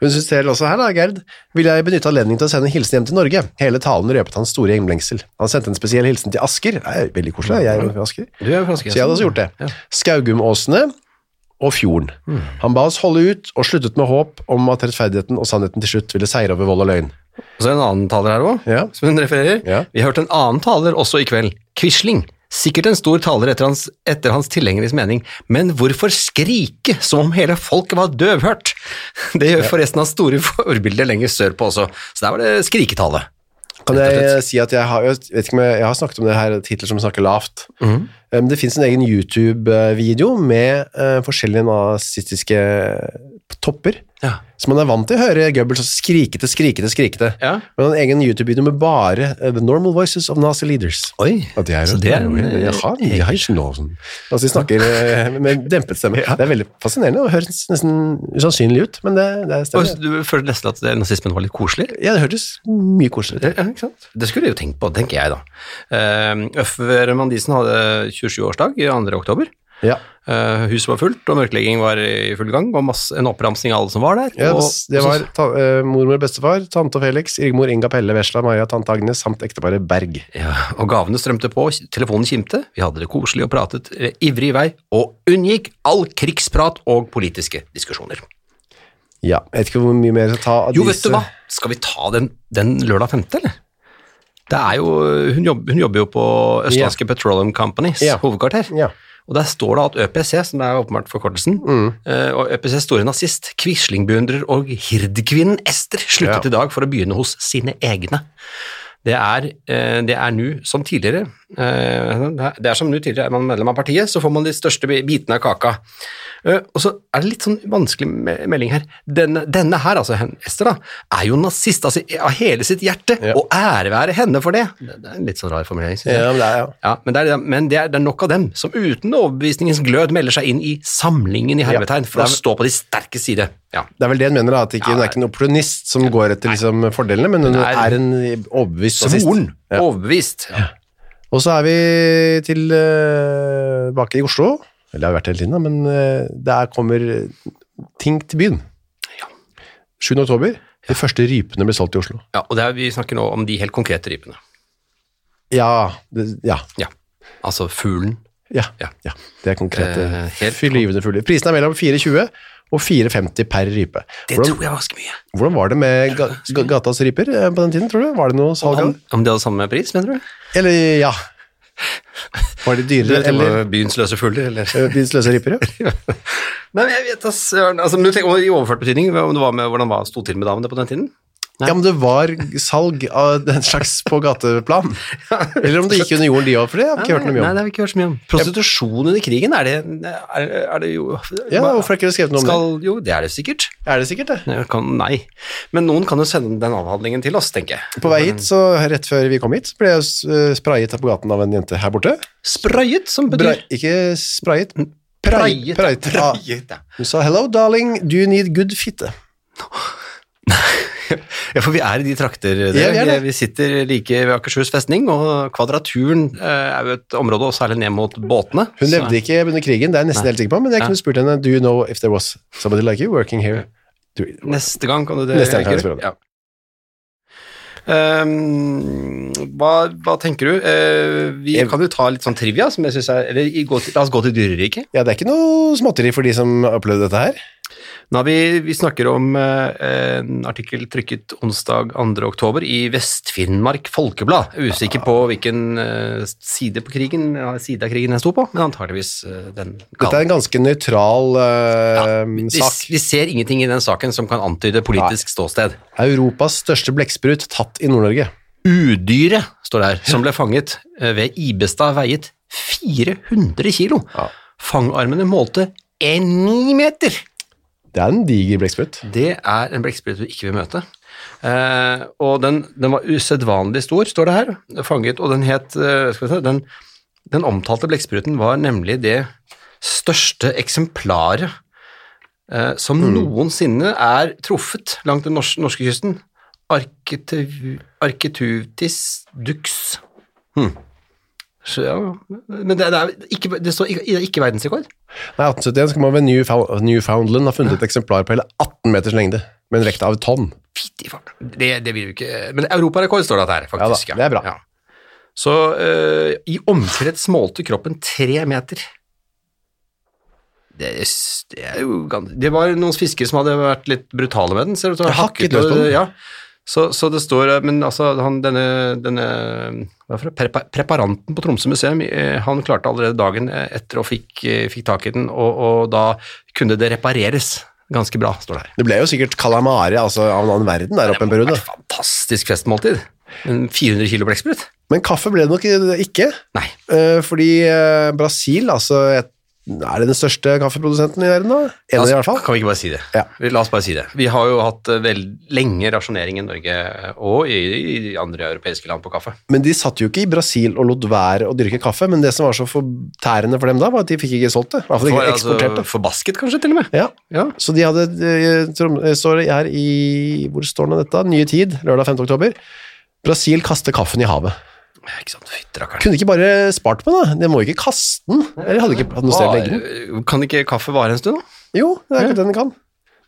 Speaker 1: Hun synes selv også her da, Gerd, vil jeg benytte anledningen til å sende en hilsen hjem til Norge. Hele talen røpet hans store hjemlengsel. Han sendte en spesiell hilsen til Asker. Det er veldig koselig, jeg er jo fra Asker.
Speaker 2: Du er jo fransk,
Speaker 1: Så jeg hadde også gjort det.
Speaker 2: Ja. Hmm.
Speaker 1: Skaugumåsene og fjorden. Han ba oss holde ut og sluttet med håp om at rettferdigheten og sannheten til slutt ville seire over vold og løgn.
Speaker 2: Og så er det en annen taler her òg,
Speaker 1: Ja.
Speaker 2: som hun refererer.
Speaker 1: Ja.
Speaker 2: Vi har hørt en annen taler også i kveld. Quisling. Sikkert en stor taler etter hans, etter hans tilhengeres mening, men hvorfor skrike som om hele folket var døvhørt? Det gjør forresten hans store forbilder lenger sørpå også, så der var det skriketale.
Speaker 1: Kan
Speaker 2: Rett og
Speaker 1: jeg si at jeg har, jeg vet ikke om jeg, jeg har snakket om det her titler som snakker lavt.
Speaker 2: Hmm.
Speaker 1: Um, Det finnes en egen YouTube-video med eh, forskjellige nazistiske topper,
Speaker 2: Ja.
Speaker 1: så man er vant til å høre Goebbels skrikete, skrikete, skrikete.
Speaker 2: ja.
Speaker 1: Men en egen YouTube-video med bare eh, The Normal Voices of Nazi Leaders.
Speaker 2: Oi.
Speaker 1: Ja, det er
Speaker 2: Så
Speaker 1: jo
Speaker 2: det er en,
Speaker 1: Ja, jeg har- jeg har ikke lov sånn. Altså, de snakker eh, med dempet stemme. Det er veldig fascinerende og høres nesten usannsynlig ut, men det, det
Speaker 2: Og
Speaker 1: stemmer.
Speaker 2: du føler nesten at det- nazismen var litt koselig?
Speaker 1: Ja, det høres mye koseligere ut.
Speaker 2: Ja, ikke sant? Det skulle jeg jo tenkt på, tenker jeg da. Uh, Øfver Mandisen hadde 27-årsdag i 2. oktober.
Speaker 1: Ja,
Speaker 2: Eh, huset var fullt, og mørklegging var i full gang, og masse, en oppramsing av alle som var der.
Speaker 1: ja
Speaker 2: og,
Speaker 1: det, det
Speaker 2: og
Speaker 1: var
Speaker 2: så-
Speaker 1: ta, eh, mormor og bestefar, tante og Felix, Rigmor, Inga Pelle, Vesla, Maja, tante Agnes, samt ekteparet Berg.
Speaker 2: ja, og gavene strømte på, telefonen kimte, vi hadde det koselig og pratet eh, ivrig i vei, og unngikk all krigsprat og politiske diskusjoner.
Speaker 1: Ja, jeg vet ikke hvor mye mer jeg skal ta av
Speaker 2: Jo, vet
Speaker 1: disse.
Speaker 2: du hva, skal vi ta den, den lørdag 5., eller? Det er jo, hun, jobber, hun jobber jo på Østlandske Petroleum Companies
Speaker 1: Ja.
Speaker 2: hovedkvarter,
Speaker 1: Ja.
Speaker 2: og der står det at ØPC, som er åpenbart forkortelsen, eh, og ØPCs store nazist, Quisling-beundrer og hirdkvinnen Ester sluttet
Speaker 1: Ja.
Speaker 2: i dag for å begynne hos sine egne. Det er, eh, det er nå som tidligere eh, Det er- det er som nå tidligere, er man medlem av partiet, så får man de største bi- bitene av kaka. Eh, Og så er det litt sånn vanskelig me- melding her. Denne, denne her, altså hen- Ester, da, er jo nazist altså, av hele sitt hjerte,
Speaker 1: Ja.
Speaker 2: og ære være henne for det. Det det er en litt sånn rar formulering, syns jeg.
Speaker 1: Ja, men det er, ja.
Speaker 2: Ja, men det er, men det er, det er nok av dem som uten overbevisningens glød melder seg inn i samlingen i hermetegn for
Speaker 1: det
Speaker 2: å
Speaker 1: er-
Speaker 2: stå på de sterke side. Ja.
Speaker 1: Det er vel det hun mener, da, at ikke, hun er ikke en opportunist som går etter liksom, fordelene, men hun
Speaker 2: Nei.
Speaker 1: er en overbevist nazist.
Speaker 2: Svoren.
Speaker 1: Ja.
Speaker 2: Overbevist.
Speaker 1: Og så er vi eh, tilbake i Oslo. Eller jeg har vært hele tiden, da, men eh, der kommer ting til byen.
Speaker 2: Ja.
Speaker 1: 7. oktober. De første rypene ble solgt i Oslo.
Speaker 2: Ja, og det er, vi snakker nå om de helt konkrete rypene.
Speaker 1: Ja. Det, ja.
Speaker 2: Ja. Altså fuglen.
Speaker 1: Ja.
Speaker 2: Ja.
Speaker 1: ja. Det er konkrete.
Speaker 2: Eh, helt-
Speaker 1: Flyvende fugler. Prisen er mellom 4,20 og 4,50 per rype.
Speaker 2: Det
Speaker 1: Hvordan,
Speaker 2: tror jeg var ganske mye.
Speaker 1: hvordan var det med ga, ga, gatas ryper eh, på den tiden, tror du? Var det noe salg av
Speaker 2: Om,
Speaker 1: det?
Speaker 2: om de hadde samme pris, mener du?
Speaker 1: Eller ja. Var de dyrere, eller
Speaker 2: eller byens løse fugler, eller?
Speaker 1: eh, de sløse ryper? Ja.
Speaker 2: Nei, men jeg vet da søren. Altså, men du tenker, I overført betydning, om det var med, hvordan var- sto til med damene på den tiden?
Speaker 1: Ja, men det var salg av den slags på gateplan. Eller om det gikk under jorden de òg, for det har vi ikke hørt noe mye
Speaker 2: Nei, det
Speaker 1: om.
Speaker 2: har vi ikke hørt så mye om. Prostitusjon under krigen, er det, er, er det jo
Speaker 1: Ja, Hvorfor er ikke det skrevet noe om
Speaker 2: skal, Jo, det er det sikkert.
Speaker 1: det? Er det sikkert det?
Speaker 2: Jeg Kan, nei. Men noen kan jo sende den avhandlingen til oss, tenker jeg.
Speaker 1: På vei hit, så rett før vi kom hit, ble jeg s- eh, sprayet på gaten av en jente her borte.
Speaker 2: Sprayet, som
Speaker 1: Bra,
Speaker 2: betyr Mm,
Speaker 1: ikke sprayet,
Speaker 2: Praiet, ja.
Speaker 1: praiet. Ah,
Speaker 2: Praiet, ja.
Speaker 1: Hun sa 'hello, darling, do you need good fitte'?
Speaker 2: ja, for vi er i de trakter. dere.
Speaker 1: Ja, vi er det.
Speaker 2: vi sitter like ved Akershus festning, og kvadraturen eh, er jo et område, og særlig ned mot båtene.
Speaker 1: Hun
Speaker 2: Så-
Speaker 1: levde ikke under krigen, det er jeg nesten helt sikker på, men jeg kunne spurt henne 'do you know if there was somebody like you working here'? Do you-
Speaker 2: Neste gang kan du det.
Speaker 1: Neste gang kan jeg
Speaker 2: Erik.
Speaker 1: spørre om det.
Speaker 2: Ja. Ehm, hva, hva tenker du? Eh, vi
Speaker 1: Jeg-
Speaker 2: kan jo ta litt sånn trivia, som jeg synes er eller, i- gå til, La oss gå til dyreriket.
Speaker 1: Ja, det er ikke noe småtteri for de som har opplevd dette her.
Speaker 2: Nei, vi, vi snakker om eh, en artikkel trykket onsdag 2. oktober i Vest-Finnmark Folkeblad. Jeg er Usikker på hvilken eh, side, på krigen, ja, side av krigen den sto på, men antageligvis eh, den
Speaker 1: Dette er en ganske nøytral eh,
Speaker 2: vi,
Speaker 1: sak.
Speaker 2: vi ser ingenting i den saken som kan antyde politisk ståsted.
Speaker 1: Europas største blekksprut tatt i Nord-Norge.
Speaker 2: Udyret, står det her, som ble fanget eh, ved Ibestad, veiet 400 kilo.
Speaker 1: Ja.
Speaker 2: Fangarmene målte en ni meter.
Speaker 1: Det er en diger blekksprut.
Speaker 2: Det er en blekksprut du ikke vil møte. Eh, og den, den var usedvanlig stor, står det her. Fanget, og den het eh, skal vi se, den, den omtalte blekkspruten var nemlig det største eksemplaret eh, som noensinne er truffet langs den norske, norske kysten. Arketu, arketutis dux. Hm. Så, ja, men det, det, er ikke, det står ikke, det er ikke verdensrekord.
Speaker 1: Nei, 1871 skal man ved Newfound- Newfoundland ha funnet et eksemplar på hele 18 meters lengde, med en vekt av et tonn.
Speaker 2: Fytti fart. Det, det vil vi ikke Men europarekord står det at her, faktisk.
Speaker 1: Ja da, det er bra.
Speaker 2: Så eh, i omkrets målte kroppen tre meter. Det, er s- det er jo gans- Det var noen fiskere som hadde vært litt brutale med den, ser det ut til.
Speaker 1: Ja, hakket løs på den.
Speaker 2: Ja. Så, så det står eh, Men altså, han, denne, denne hva for, det? prepa, Preparanten på Tromsø museum, eh, han klarte allerede dagen eh, etter og fikk, eh, fikk tak i den, og, og da kunne det repareres ganske bra, står det her.
Speaker 1: Det ble jo sikkert kalamari altså, av en annen verden der oppe en
Speaker 2: Det
Speaker 1: periode.
Speaker 2: var et fantastisk festmåltid. En 400 kilo blekksprut.
Speaker 1: Men kaffe ble det nok i- ikke,
Speaker 2: Nei.
Speaker 1: eh, fordi eh, Brasil, altså, et- er det den største kaffeprodusenten i verden da? En av de i hvert fall.
Speaker 2: Kan vi ikke bare si det?
Speaker 1: Ja.
Speaker 2: Vi- La oss bare si det. Vi har jo hatt eh, vel lenge rasjonering i Norge eh, og i, i andre europeiske land på kaffe.
Speaker 1: Men de satt jo ikke i Brasil og lot være å dyrke kaffe, men det som var så fortærende for dem da, var at de fikk ikke solgt det. I hvert fall
Speaker 2: For,
Speaker 1: ikke
Speaker 2: altså,
Speaker 1: eksportert det.
Speaker 2: Forbasket kanskje, til og med.
Speaker 1: Ja.
Speaker 2: Ja.
Speaker 1: Så de hadde, eh, Trom- eh, står det her i, hvor står det dette? Nye tid, lørdag 5. oktober. Brasil kaster kaffen i havet.
Speaker 2: Ikke sant, fytter rakkeren.
Speaker 1: Kunne de ikke bare spart på den da? De må jo ikke kaste den. Eller hadde de ikke hatt noe sted å legge den.
Speaker 2: Var- Kan ikke kaffe vare en stund, da?
Speaker 1: Jo, det er akkurat den de kan.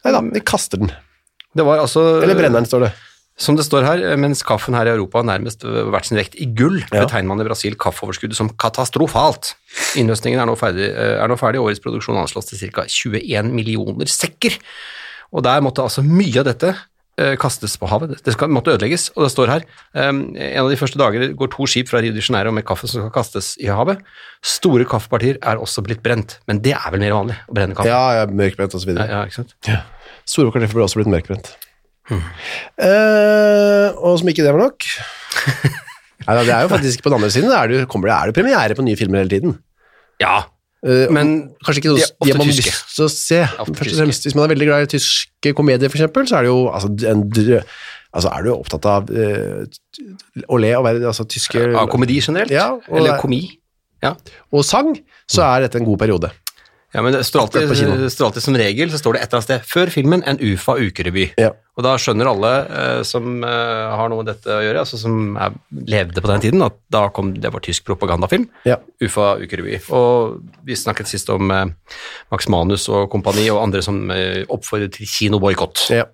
Speaker 1: Nei da, de kaster den.
Speaker 2: Det var altså
Speaker 1: Eller brenner den, står det.
Speaker 2: Som det står her, mens kaffen her i Europa har nærmest øh, vært sin vekt i gull,
Speaker 1: Ja.
Speaker 2: betegner man i Brasil kaffeoverskuddet som katastrofalt. Innhøstningen er nå ferdig, øh, er nå ferdig. årets produksjon anslås til ca. 21 millioner sekker. Og der måtte altså mye av dette øh, kastes på havet. Det skal, måtte ødelegges, og det står her ehm, en av de første dager går to skip fra Rio de Janeiro med kaffe som skal kastes i havet. Store kaffepartier er også blitt brent, men det er vel mer vanlig å brenne kaffe.
Speaker 1: Ja, ja, mørkbrent og så videre.
Speaker 2: Ja, Mm. ikke sant?
Speaker 1: Store kartoffer ble også blitt mørkbrent. Eh, og som ikke det var nok Nei, da, det er jo faktisk på den andre siden det er det, jo- kommer det, er det premiere på nye filmer hele tiden.
Speaker 2: ja.
Speaker 1: Eh,
Speaker 2: Men
Speaker 1: kanskje ikke
Speaker 2: de
Speaker 1: noe
Speaker 2: er
Speaker 1: de
Speaker 2: ofte
Speaker 1: man har
Speaker 2: tyske.
Speaker 1: lyst til å se. Først og
Speaker 2: tyske.
Speaker 1: fremst, hvis man er veldig glad i tyske komedier, for eksempel, så er det jo altså, en drø... Altså, er du opptatt av eh, å le og være altså, tyske
Speaker 2: av komedi generelt?
Speaker 1: Ja, og-
Speaker 2: Eller komi? Ja.
Speaker 1: og sang, så
Speaker 2: Mm.
Speaker 1: er dette en god periode.
Speaker 2: Ja, men det står alltid,
Speaker 1: Akkurat på kino.
Speaker 2: det står alltid som regel så står det et eller annet sted før filmen en UFA ukerevy.
Speaker 1: Ja.
Speaker 2: Og da skjønner alle eh, som eh, har noe med dette å gjøre, altså som er, levde på den tiden, at da kom det var tysk propagandafilm,
Speaker 1: Ja.
Speaker 2: UFA ukerevy. Og vi snakket sist om eh, Max Manus og kompani og andre som eh, oppfordret til kinoboikott.
Speaker 1: Ja.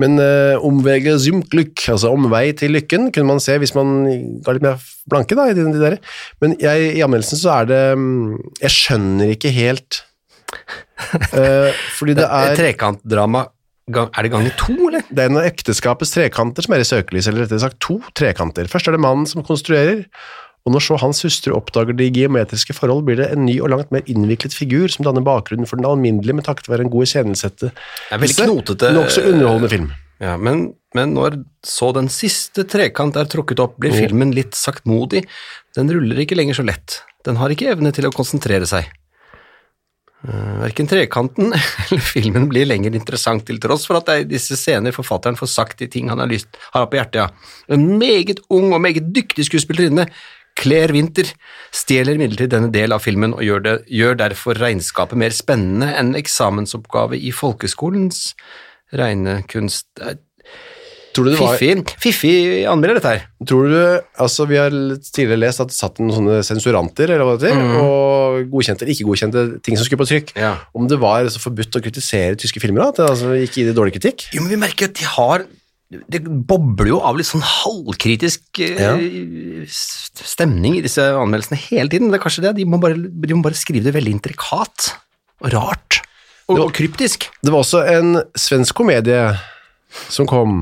Speaker 1: Men uh, omvege zymklykk, altså omvei til lykken, kunne man se hvis man ga litt mer blanke da, i de, de der. Men jeg, i anmeldelsen så er det mm, Jeg skjønner ikke helt Eh, Fordi det er,
Speaker 2: Trekantdrama, gang- er det ganger to, eller?
Speaker 1: det er en av ekteskapets trekanter som er i søkelyset, eller rettere sagt to trekanter. Først er det mannen som konstruerer, og når så hans hustru oppdager de geometriske forhold, blir det en ny og langt mer innviklet figur som danner bakgrunnen for den alminnelige, men takket være en god iscenesette.
Speaker 2: Det er veldig knotete. eh,
Speaker 1: Nokså underholdende film.
Speaker 2: Ja, men, men når så den siste trekant er trukket opp, blir filmen litt saktmodig. Den ruller ikke lenger så lett. Den har ikke evne til å konsentrere seg. Eh, Verken trekanten eller filmen blir lenger interessant, til tross for at det er i disse scener forfatteren får sagt de ting han har, lyst, har på hjertet. Ja. En meget ung og meget dyktig skuespillerinne, Claire Winther, stjeler imidlertid denne del av filmen og gjør, det, gjør derfor regnskapet mer spennende enn eksamensoppgave i folkeskolens regnekunst. Det er
Speaker 1: Tror du det var...
Speaker 2: Fiffig, fiffig anmelder dette her.
Speaker 1: Tror du, altså Vi har tidligere lest at det satt noen sånne sensuranter eller hva det heter, og godkjente eller ikke godkjente ting som skulle på trykk.
Speaker 2: Mm. Ja.
Speaker 1: Om det var altså, forbudt å kritisere tyske filmer? da, at det altså, Ikke gi det dårlig kritikk?
Speaker 2: Jo, men vi merker at de har Det bobler jo av litt sånn halvkritisk eh, s- stemning i disse anmeldelsene hele tiden. Det er kanskje det. De må bare, de må bare skrive det veldig intrikat og rart. og, og kryptisk.
Speaker 1: Det var også en svensk komedie som kom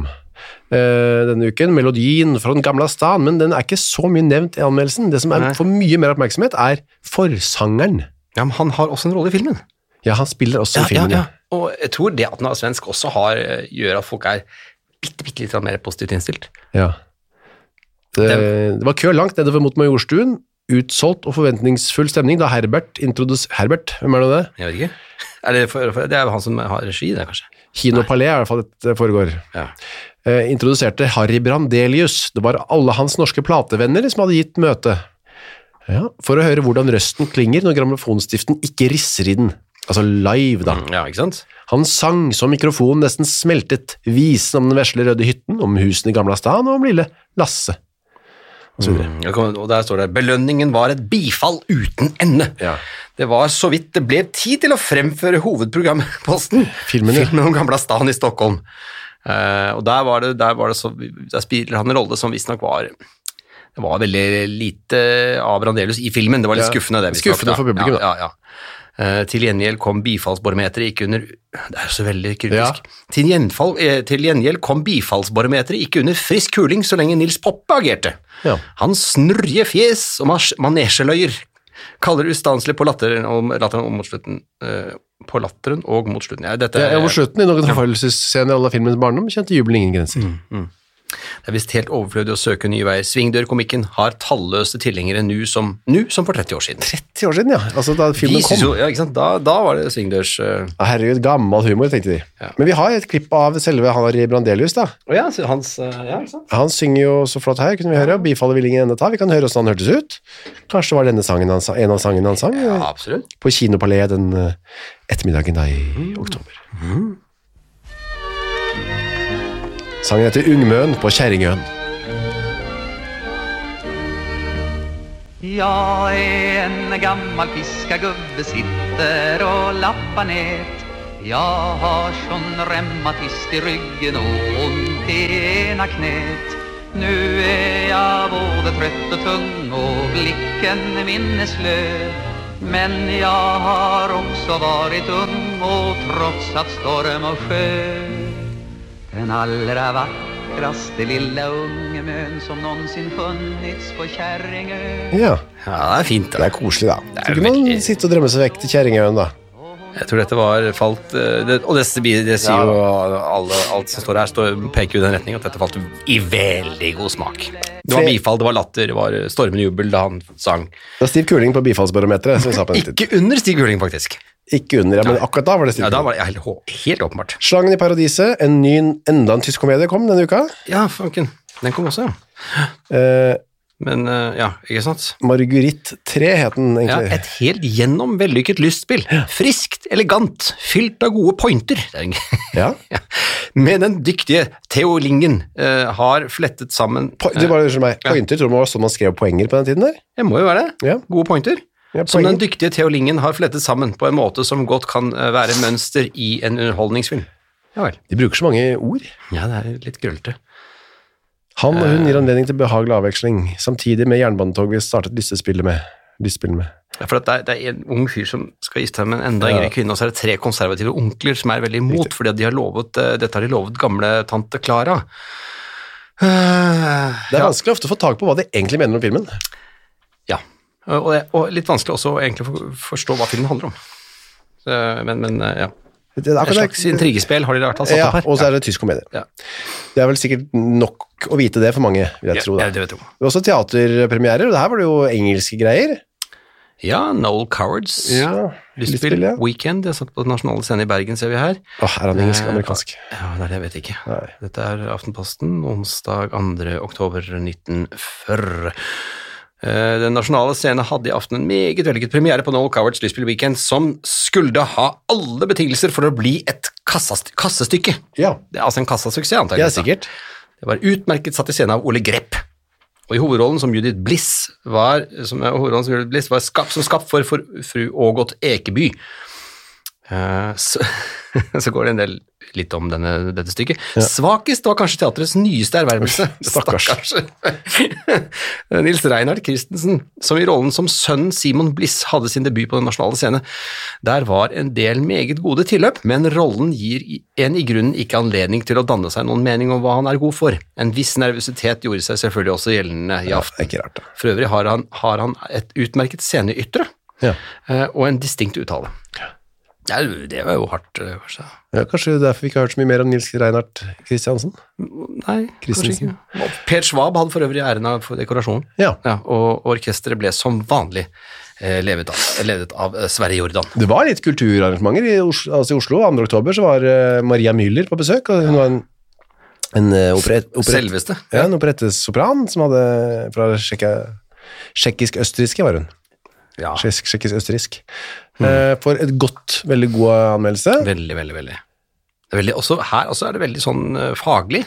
Speaker 1: eh, denne uken, Melodien fra den gamle stan, men den er ikke så mye nevnt i anmeldelsen. Det som er
Speaker 2: Nei.
Speaker 1: for mye mer oppmerksomhet er forsangeren.
Speaker 2: Ja, men han har også en rolle i filmen.
Speaker 1: Ja, han spiller også
Speaker 2: Ja,
Speaker 1: i filmen.
Speaker 2: ja,
Speaker 1: Ja,
Speaker 2: ja. Og jeg tror det at han er svensk også har, eh, gjør at folk er bitte, bitte litt sånn mer positivt innstilt.
Speaker 1: Ja. Det, det var kø langt nedover mot Majorstuen. Utsolgt og forventningsfull stemning da Herbert introdus... Herbert, hvem er det det?
Speaker 2: Jeg vet ikke. Er det, for, for, det er jo han som har regi, det, kanskje.
Speaker 1: Kino Palais er i hvert fall det foregår.
Speaker 2: Ja.
Speaker 1: Eh, introduserte Harry Brandelius. Det var alle hans norske platevenner som hadde gitt møte. Ja, for å høre hvordan røsten klinger når grammofonsstiften ikke risser i den. Altså live, da.
Speaker 2: Ja, ikke sant?
Speaker 1: Han sang så mikrofonen nesten smeltet, visen om den vesle røde hytten, om husene i Gamla Stan og om lille Lasse. Og så videre.
Speaker 2: Det kom- Mm. Og der står det 'Belønningen var et bifall uten ende'.
Speaker 1: Ja.
Speaker 2: Det var så vidt det ble tid til å fremføre hovedprogramposten.
Speaker 1: Filmen, ja.
Speaker 2: om gamle stan i Stockholm. Eh, og der, var det, der, var det så, der spiller han en rolle som visstnok var Det var veldig lite av Brandelius i filmen. Det var litt
Speaker 1: Ja,
Speaker 2: skuffende. det visstnok,
Speaker 1: skuffende
Speaker 2: da.
Speaker 1: for publikum,
Speaker 2: Ja, ja, ja. Eh, til gjengjeld kom bifallsbarometeret ikke under Det er jo så veldig kryptisk. Til, gjenfall, eh, til gjengjeld kom bifallsbarometeret ikke under frisk kuling så lenge Nils Poppe agerte.
Speaker 1: Ja.
Speaker 2: Hans snurrige fjes og mas- manesjeløyer kaller ustanselig på latteren, om, latteren og mot slutten. eh, på latteren og mot slutten. Ja, dette,
Speaker 1: Ja, mot slutten, i noen forfølgelsesscener i alle filmens barndom, kjente jubelen ingen grenser.
Speaker 2: Mm. Det er visst helt overflødig å søke nye veier. Svingdørkomikken har talløse tilhengere nå som, nå som for 30 år siden.
Speaker 1: 30 år siden, ja. Altså, da
Speaker 2: Vi
Speaker 1: filmen
Speaker 2: synes
Speaker 1: kom.
Speaker 2: jo, ja, ikke sant? Da, da var det svingdørs... eh, Å
Speaker 1: Ja, Herregud, gammel humor, tenkte de. Men vi har et klipp av selve Harry Brandelius, da.
Speaker 2: ja, hans...
Speaker 1: eh,
Speaker 2: ja, ikke sant?
Speaker 1: Han synger jo så flott her, kunne vi høre. Bifaller vil ingen ende ta. Vi kan høre hvordan han hørtes ut. Kanskje det var denne sangen han, sa- en av sangene han sang
Speaker 2: Ja,
Speaker 1: eh,
Speaker 2: absolutt.
Speaker 1: på Kinopalais den eh, ettermiddagen da i
Speaker 2: Mm.
Speaker 1: oktober. Sangen heter Ungmøn på Kjerringøen.
Speaker 3: Jag är en gammal fiskargubbe, sitter och lappar nät Jag har sån reumatist i ryggen och ont i ena knät Nu är jag både trött och tung och blicken minneslö Men jag har också varit ung och trotsat storm och sjö den allra vackraste lilla ungemön som någonsin funnits på Kärringö
Speaker 1: Ja,
Speaker 2: Ja, det er fint.
Speaker 1: det
Speaker 2: Da.
Speaker 1: er koselig, da.
Speaker 2: Det
Speaker 1: Så
Speaker 2: er
Speaker 1: kunne man
Speaker 2: veldig-
Speaker 1: sitte og drømme seg vekk til Kjerringøen, da.
Speaker 2: Jeg tror dette var falt... eh, Det, og det, det sier jo alle, alt som står her, står, peker jo i den retningen at dette falt i veldig god smak. Det var
Speaker 1: Tre-
Speaker 2: bifall, det var latter, det var eh, stormende jubel da han sang.
Speaker 1: Det var stiv kuling på bifallsbarometeret, som vi sa på den tiden.
Speaker 2: Ikke under Stig Guling, faktisk.
Speaker 1: Ikke under, ja, men akkurat da var det stiv
Speaker 2: Ja, da
Speaker 1: kuling.
Speaker 2: var det helt, helt åpenbart.
Speaker 1: Slangen i paradiset, en ny, enda en tysk komedie kom denne uka.
Speaker 2: Ja, fanken. Den kom også, ja.
Speaker 1: Eh,
Speaker 2: Men eh, ja, ikke sant?
Speaker 1: Marguerite 3 het den,
Speaker 2: Ja,
Speaker 1: egentlig.
Speaker 2: et helt gjennom vellykket lystspill. Friskt, elegant, fylt av gode pointer. Det er en-
Speaker 1: Ja.
Speaker 2: ja. Med den dyktige Theo Lingen eh, har flettet sammen
Speaker 1: Po du bare unnskyld meg,
Speaker 2: Ja.
Speaker 1: pointer, tror du det var sånn man skrev poenger på den tiden der?
Speaker 2: Det må jo være det.
Speaker 1: Ja.
Speaker 2: Gode pointer.
Speaker 1: Ja,
Speaker 2: Som
Speaker 1: poenger.
Speaker 2: den dyktige Theo Lingen har flettet sammen på en måte som godt kan eh, være mønster i en underholdningsfilm. Ja vel.
Speaker 1: De bruker så mange ord.
Speaker 2: Ja, det er litt krøllete.
Speaker 1: Han og hun gir
Speaker 2: Eh.
Speaker 1: anledning til behagelig avveksling, samtidig med jernbanetog vi startet lystespillet med. Lystspillet med.
Speaker 2: Ja, for at det, er, det er en ung fyr som skal gifte seg med en enda yngre kvinne, og så er det tre konservative onkler som er veldig imot, fordi at de har lovet, eh, dette har de lovet gamle tante Klara. Eh,
Speaker 1: Det er vanskelig ofte å få tak på hva de egentlig mener om filmen.
Speaker 2: ja. Og, det, og litt vanskelig også å egentlig for- forstå hva filmen handler om. Så, men, men eh, ja.
Speaker 1: Det er
Speaker 2: Et
Speaker 1: akkurat det.
Speaker 2: slags intrigespill har de i hvert fall satt
Speaker 1: Ja,
Speaker 2: opp her.
Speaker 1: og så er det tysk komedie.
Speaker 2: Ja.
Speaker 1: Det er vel sikkert nok å vite det for mange, vil jeg
Speaker 2: Ja,
Speaker 1: tro. Da.
Speaker 2: ja, det vet jeg.
Speaker 1: Det var også teaterpremierer, og det her var det jo engelske greier.
Speaker 2: ja, Noel Cowards. Lystspill,
Speaker 1: Lystspill, ja.
Speaker 2: Weekend, jeg satt på den nasjonale scenen i Bergen, ser vi her.
Speaker 1: Åh, er han engelsk amerikansk?
Speaker 2: Ja, det er det jeg vet ikke.
Speaker 1: Nei.
Speaker 2: Dette er Aftenposten, onsdag 2. oktober 1940. Eh, Den nasjonale scenen hadde i aften en meget vellykket premiere på Noel Cowards Lystspill Weekend, som skulle ha alle betingelser for å bli et kassast- kassestykke.
Speaker 1: Ja,
Speaker 2: Det er altså en kassasuksess, antagelig.
Speaker 1: ja sikkert.
Speaker 2: Det var utmerket satt i scenen av Ole Grepp. Og i hovedrollen som Judith Bliss var, som, er hovedrollen som, Judith Bliss var skapt, som skapt for, for fru Ågot Ekeby. Eh, så, så går det en del litt om denne, dette stykket. Svakest var kanskje teatrets nyeste ervervelse.
Speaker 1: Stakkars.
Speaker 2: Eh, Nils Reinhard Christensen, som i rollen som sønnen Simon Bliss hadde sin debut på den nasjonale scene. Der var en del meget gode tilløp, men rollen gir i- en i grunnen ikke anledning til å danne seg noen mening om hva han er god for. En viss nervøsitet gjorde seg selvfølgelig også gjeldende i
Speaker 1: Det er
Speaker 2: aften.
Speaker 1: ikke rart, da.
Speaker 2: For øvrig har han, har han et utmerket sceneytre
Speaker 1: Ja.
Speaker 2: eh, og en distinkt uttale. Det, er, jo- det var jo hardt. eh, kanskje.
Speaker 1: Ja, kanskje det er derfor vi ikke har hørt så mye mer om Nils Reinhardt Kristiansen?
Speaker 2: Nei, kanskje
Speaker 1: Christensen.
Speaker 2: ikke. Per Schwab hadde for øvrig æren av dekorasjonen.
Speaker 1: Ja.
Speaker 2: Ja, og orkesteret ble som vanlig eh, levet av, ledet av eh, Sverre Jordan.
Speaker 1: Det var litt kulturarrangementer i Oslo. Altså I Oslo 2. oktober så var eh, Maria Müller på besøk, og hun var en, en eh, operett... operett-
Speaker 2: Selveste.
Speaker 1: Ja, en operettesopran som hadde fra tjekka, tjekkisk-østerrike, var hun.
Speaker 2: Ja,
Speaker 1: Tjekkisk- Tjekkisk-østerriksk. Eh, for et godt, veldig god anmeldelse.
Speaker 2: veldig, veldig, veldig. Det er veldig også her også er det veldig sånn eh, faglig.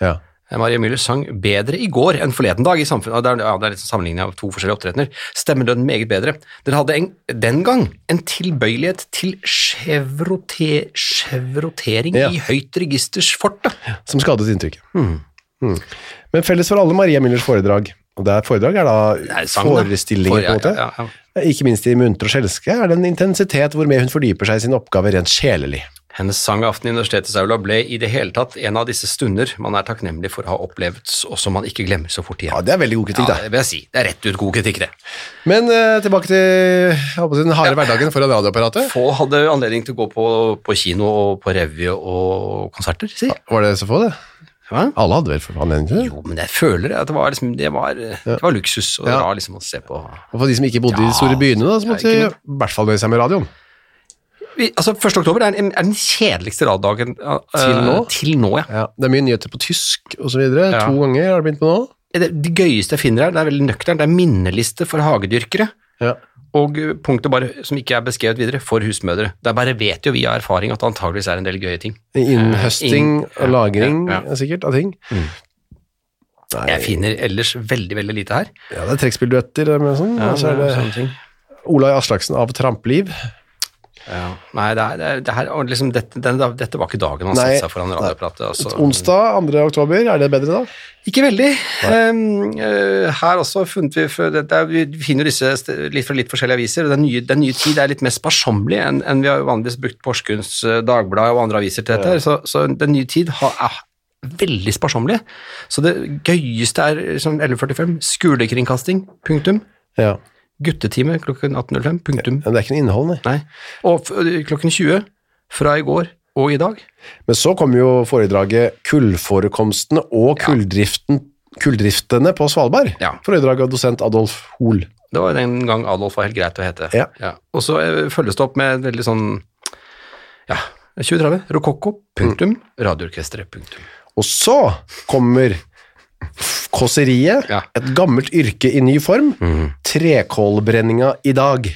Speaker 1: Ja.
Speaker 2: Eh, Maria Müller sang bedre i går enn forleden dag i samfunnet. Det er, ja, det er litt sånn sammenligning av to forskjellige opptredener. Stemmer den meget bedre. Den hadde en, den gang en tilbøyelighet til chevrote, chevrotering
Speaker 1: Ja.
Speaker 2: i høyt registers forte.
Speaker 1: Som skadet inntrykket.
Speaker 2: Hmm.
Speaker 1: Mm. Men felles for alle Maria Müllers foredrag, og det er foredrag er da
Speaker 2: er sang, da.
Speaker 1: forestillinger
Speaker 2: For- ja,
Speaker 1: på en måte,
Speaker 2: ja, ja,
Speaker 1: ikke minst i munter og skjelske, er det en intensitet hvormed hun fordyper seg i sin oppgave rent sjelelig.
Speaker 2: Hennes sangaften i universitetets aula ble i det hele tatt en av disse stunder man er takknemlig for å ha opplevd, og som man ikke glemmer så fort
Speaker 1: Ja,
Speaker 2: igjen.
Speaker 1: det er veldig god
Speaker 2: Ja,
Speaker 1: kritikk, da.
Speaker 2: det vil jeg si. Det er rett ut god kritikk, det.
Speaker 1: Men eh, tilbake til jeg håper, den harde hverdagen foran radioapparatet.
Speaker 2: Få hadde anledning til å gå på, på kino og på revy og konserter, si.
Speaker 1: Var det så få, det?
Speaker 2: Hva?
Speaker 1: Alle hadde vel for anledning til det?
Speaker 2: Jo, men jeg føler at det var, liksom, det var, det var luksus, og det var liksom å se på
Speaker 1: Og for de som ikke bodde i de
Speaker 2: Ja,
Speaker 1: store byene, da, så måtte de
Speaker 2: det
Speaker 1: i
Speaker 2: er ikke
Speaker 1: hvert fall nøye seg med radioen.
Speaker 2: Vi, Altså, 1. oktober er, den- er den kjedeligste raddagen eh,
Speaker 1: Til nå?
Speaker 2: Til nå, ja.
Speaker 1: Ja, det er mye nyheter på tysk og så videre.
Speaker 2: Ja.
Speaker 1: To ganger har det begynt på nå.
Speaker 2: Det, det gøyeste jeg finner her, det er veldig nøkternt, det er minneliste for hagedyrkere.
Speaker 1: Ja.
Speaker 2: Og eh, punktet bare, som ikke er beskrevet videre, for husmødre. Der bare vet jo vi av erfaring at det antageligvis er en del gøye ting.
Speaker 1: Innhøsting
Speaker 2: inn-
Speaker 1: og lagring,
Speaker 2: Eh, ja, Mm. ja.
Speaker 1: sikkert, av ting.
Speaker 2: Jeg finner ellers veldig, veldig lite her.
Speaker 1: Ja, det er trekkspillduetter med sånn. og så er det
Speaker 2: sånne ting.
Speaker 1: Olai Aslaksen av Trampeliv.
Speaker 2: Ja. Nei, det er, det er, det her, og liksom, dette, den, dette var ikke dagen han
Speaker 1: Nei,
Speaker 2: satte seg foran radioapparatet. Altså.
Speaker 1: Onsdag 2. oktober, er det bedre da?
Speaker 2: Ikke veldig. Ehm, eh, her også funnet vi, for, det, det er, vi finner jo disse st- litt fra litt forskjellige aviser, og den nye, den nye tid er litt mer sparsommelig enn enn vi har vanligvis brukt Porsgrunns eh, Dagblad og andre aviser til dette. her, Så, så den nye tid har, er veldig sparsommelig. Så det gøyeste er liksom 11.45, skolekringkasting, punktum.
Speaker 1: Ja.
Speaker 2: Guttetime klokken 18.05, punktum.
Speaker 1: Men det er ikke noe innhold, nei.
Speaker 2: Nei. Og f klokken 20 fra i går og i dag.
Speaker 1: Men så kommer jo foredraget Kullforekomstene og kulldriften, kulldriftene på Svalbard.
Speaker 2: Ja.
Speaker 1: Foredrag av dosent Adolf Hoel.
Speaker 2: Det var den gang Adolf var helt greit å hete.
Speaker 1: Ja.
Speaker 2: Og så eh, følges det opp med veldig sånn ja, 2030, rokokko, punktum,
Speaker 1: Mm.
Speaker 2: radioorkestret, punktum.
Speaker 1: Og så kommer kåseriet,
Speaker 2: Ja. Mm.
Speaker 1: et gammelt yrke i ny form, trekålbrenninga i dag.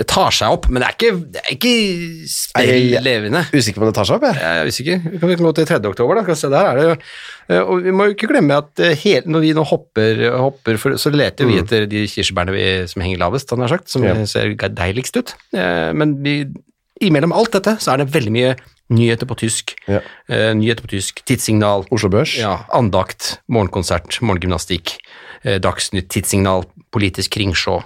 Speaker 2: Det tar seg opp, men det er ikke, det er ikke
Speaker 1: Nei, jeg-
Speaker 2: spill levende.
Speaker 1: Usikker på om det tar seg opp, jeg.
Speaker 2: Jeg er usikker. Vi kan ikke nå til 3. oktober, da. Skal vi se, der er det eh, Og vi må jo ikke glemme at eh, hele, når vi nå hopper, hopper for, så leter vi etter de kirsebærene vi, som henger lavest, han har sagt, som
Speaker 1: Mm. Ja.
Speaker 2: ser deiligst ut. Eh, Men vi, imellom alt dette så er det veldig mye nyheter på tysk.
Speaker 1: Ja.
Speaker 2: Eh, Nyheter på tysk, tidssignal,
Speaker 1: Oslo Børs.
Speaker 2: ja, andakt, morgenkonsert, morgengymnastikk, eh, dagsnytt, tidssignal, politisk kringsjå,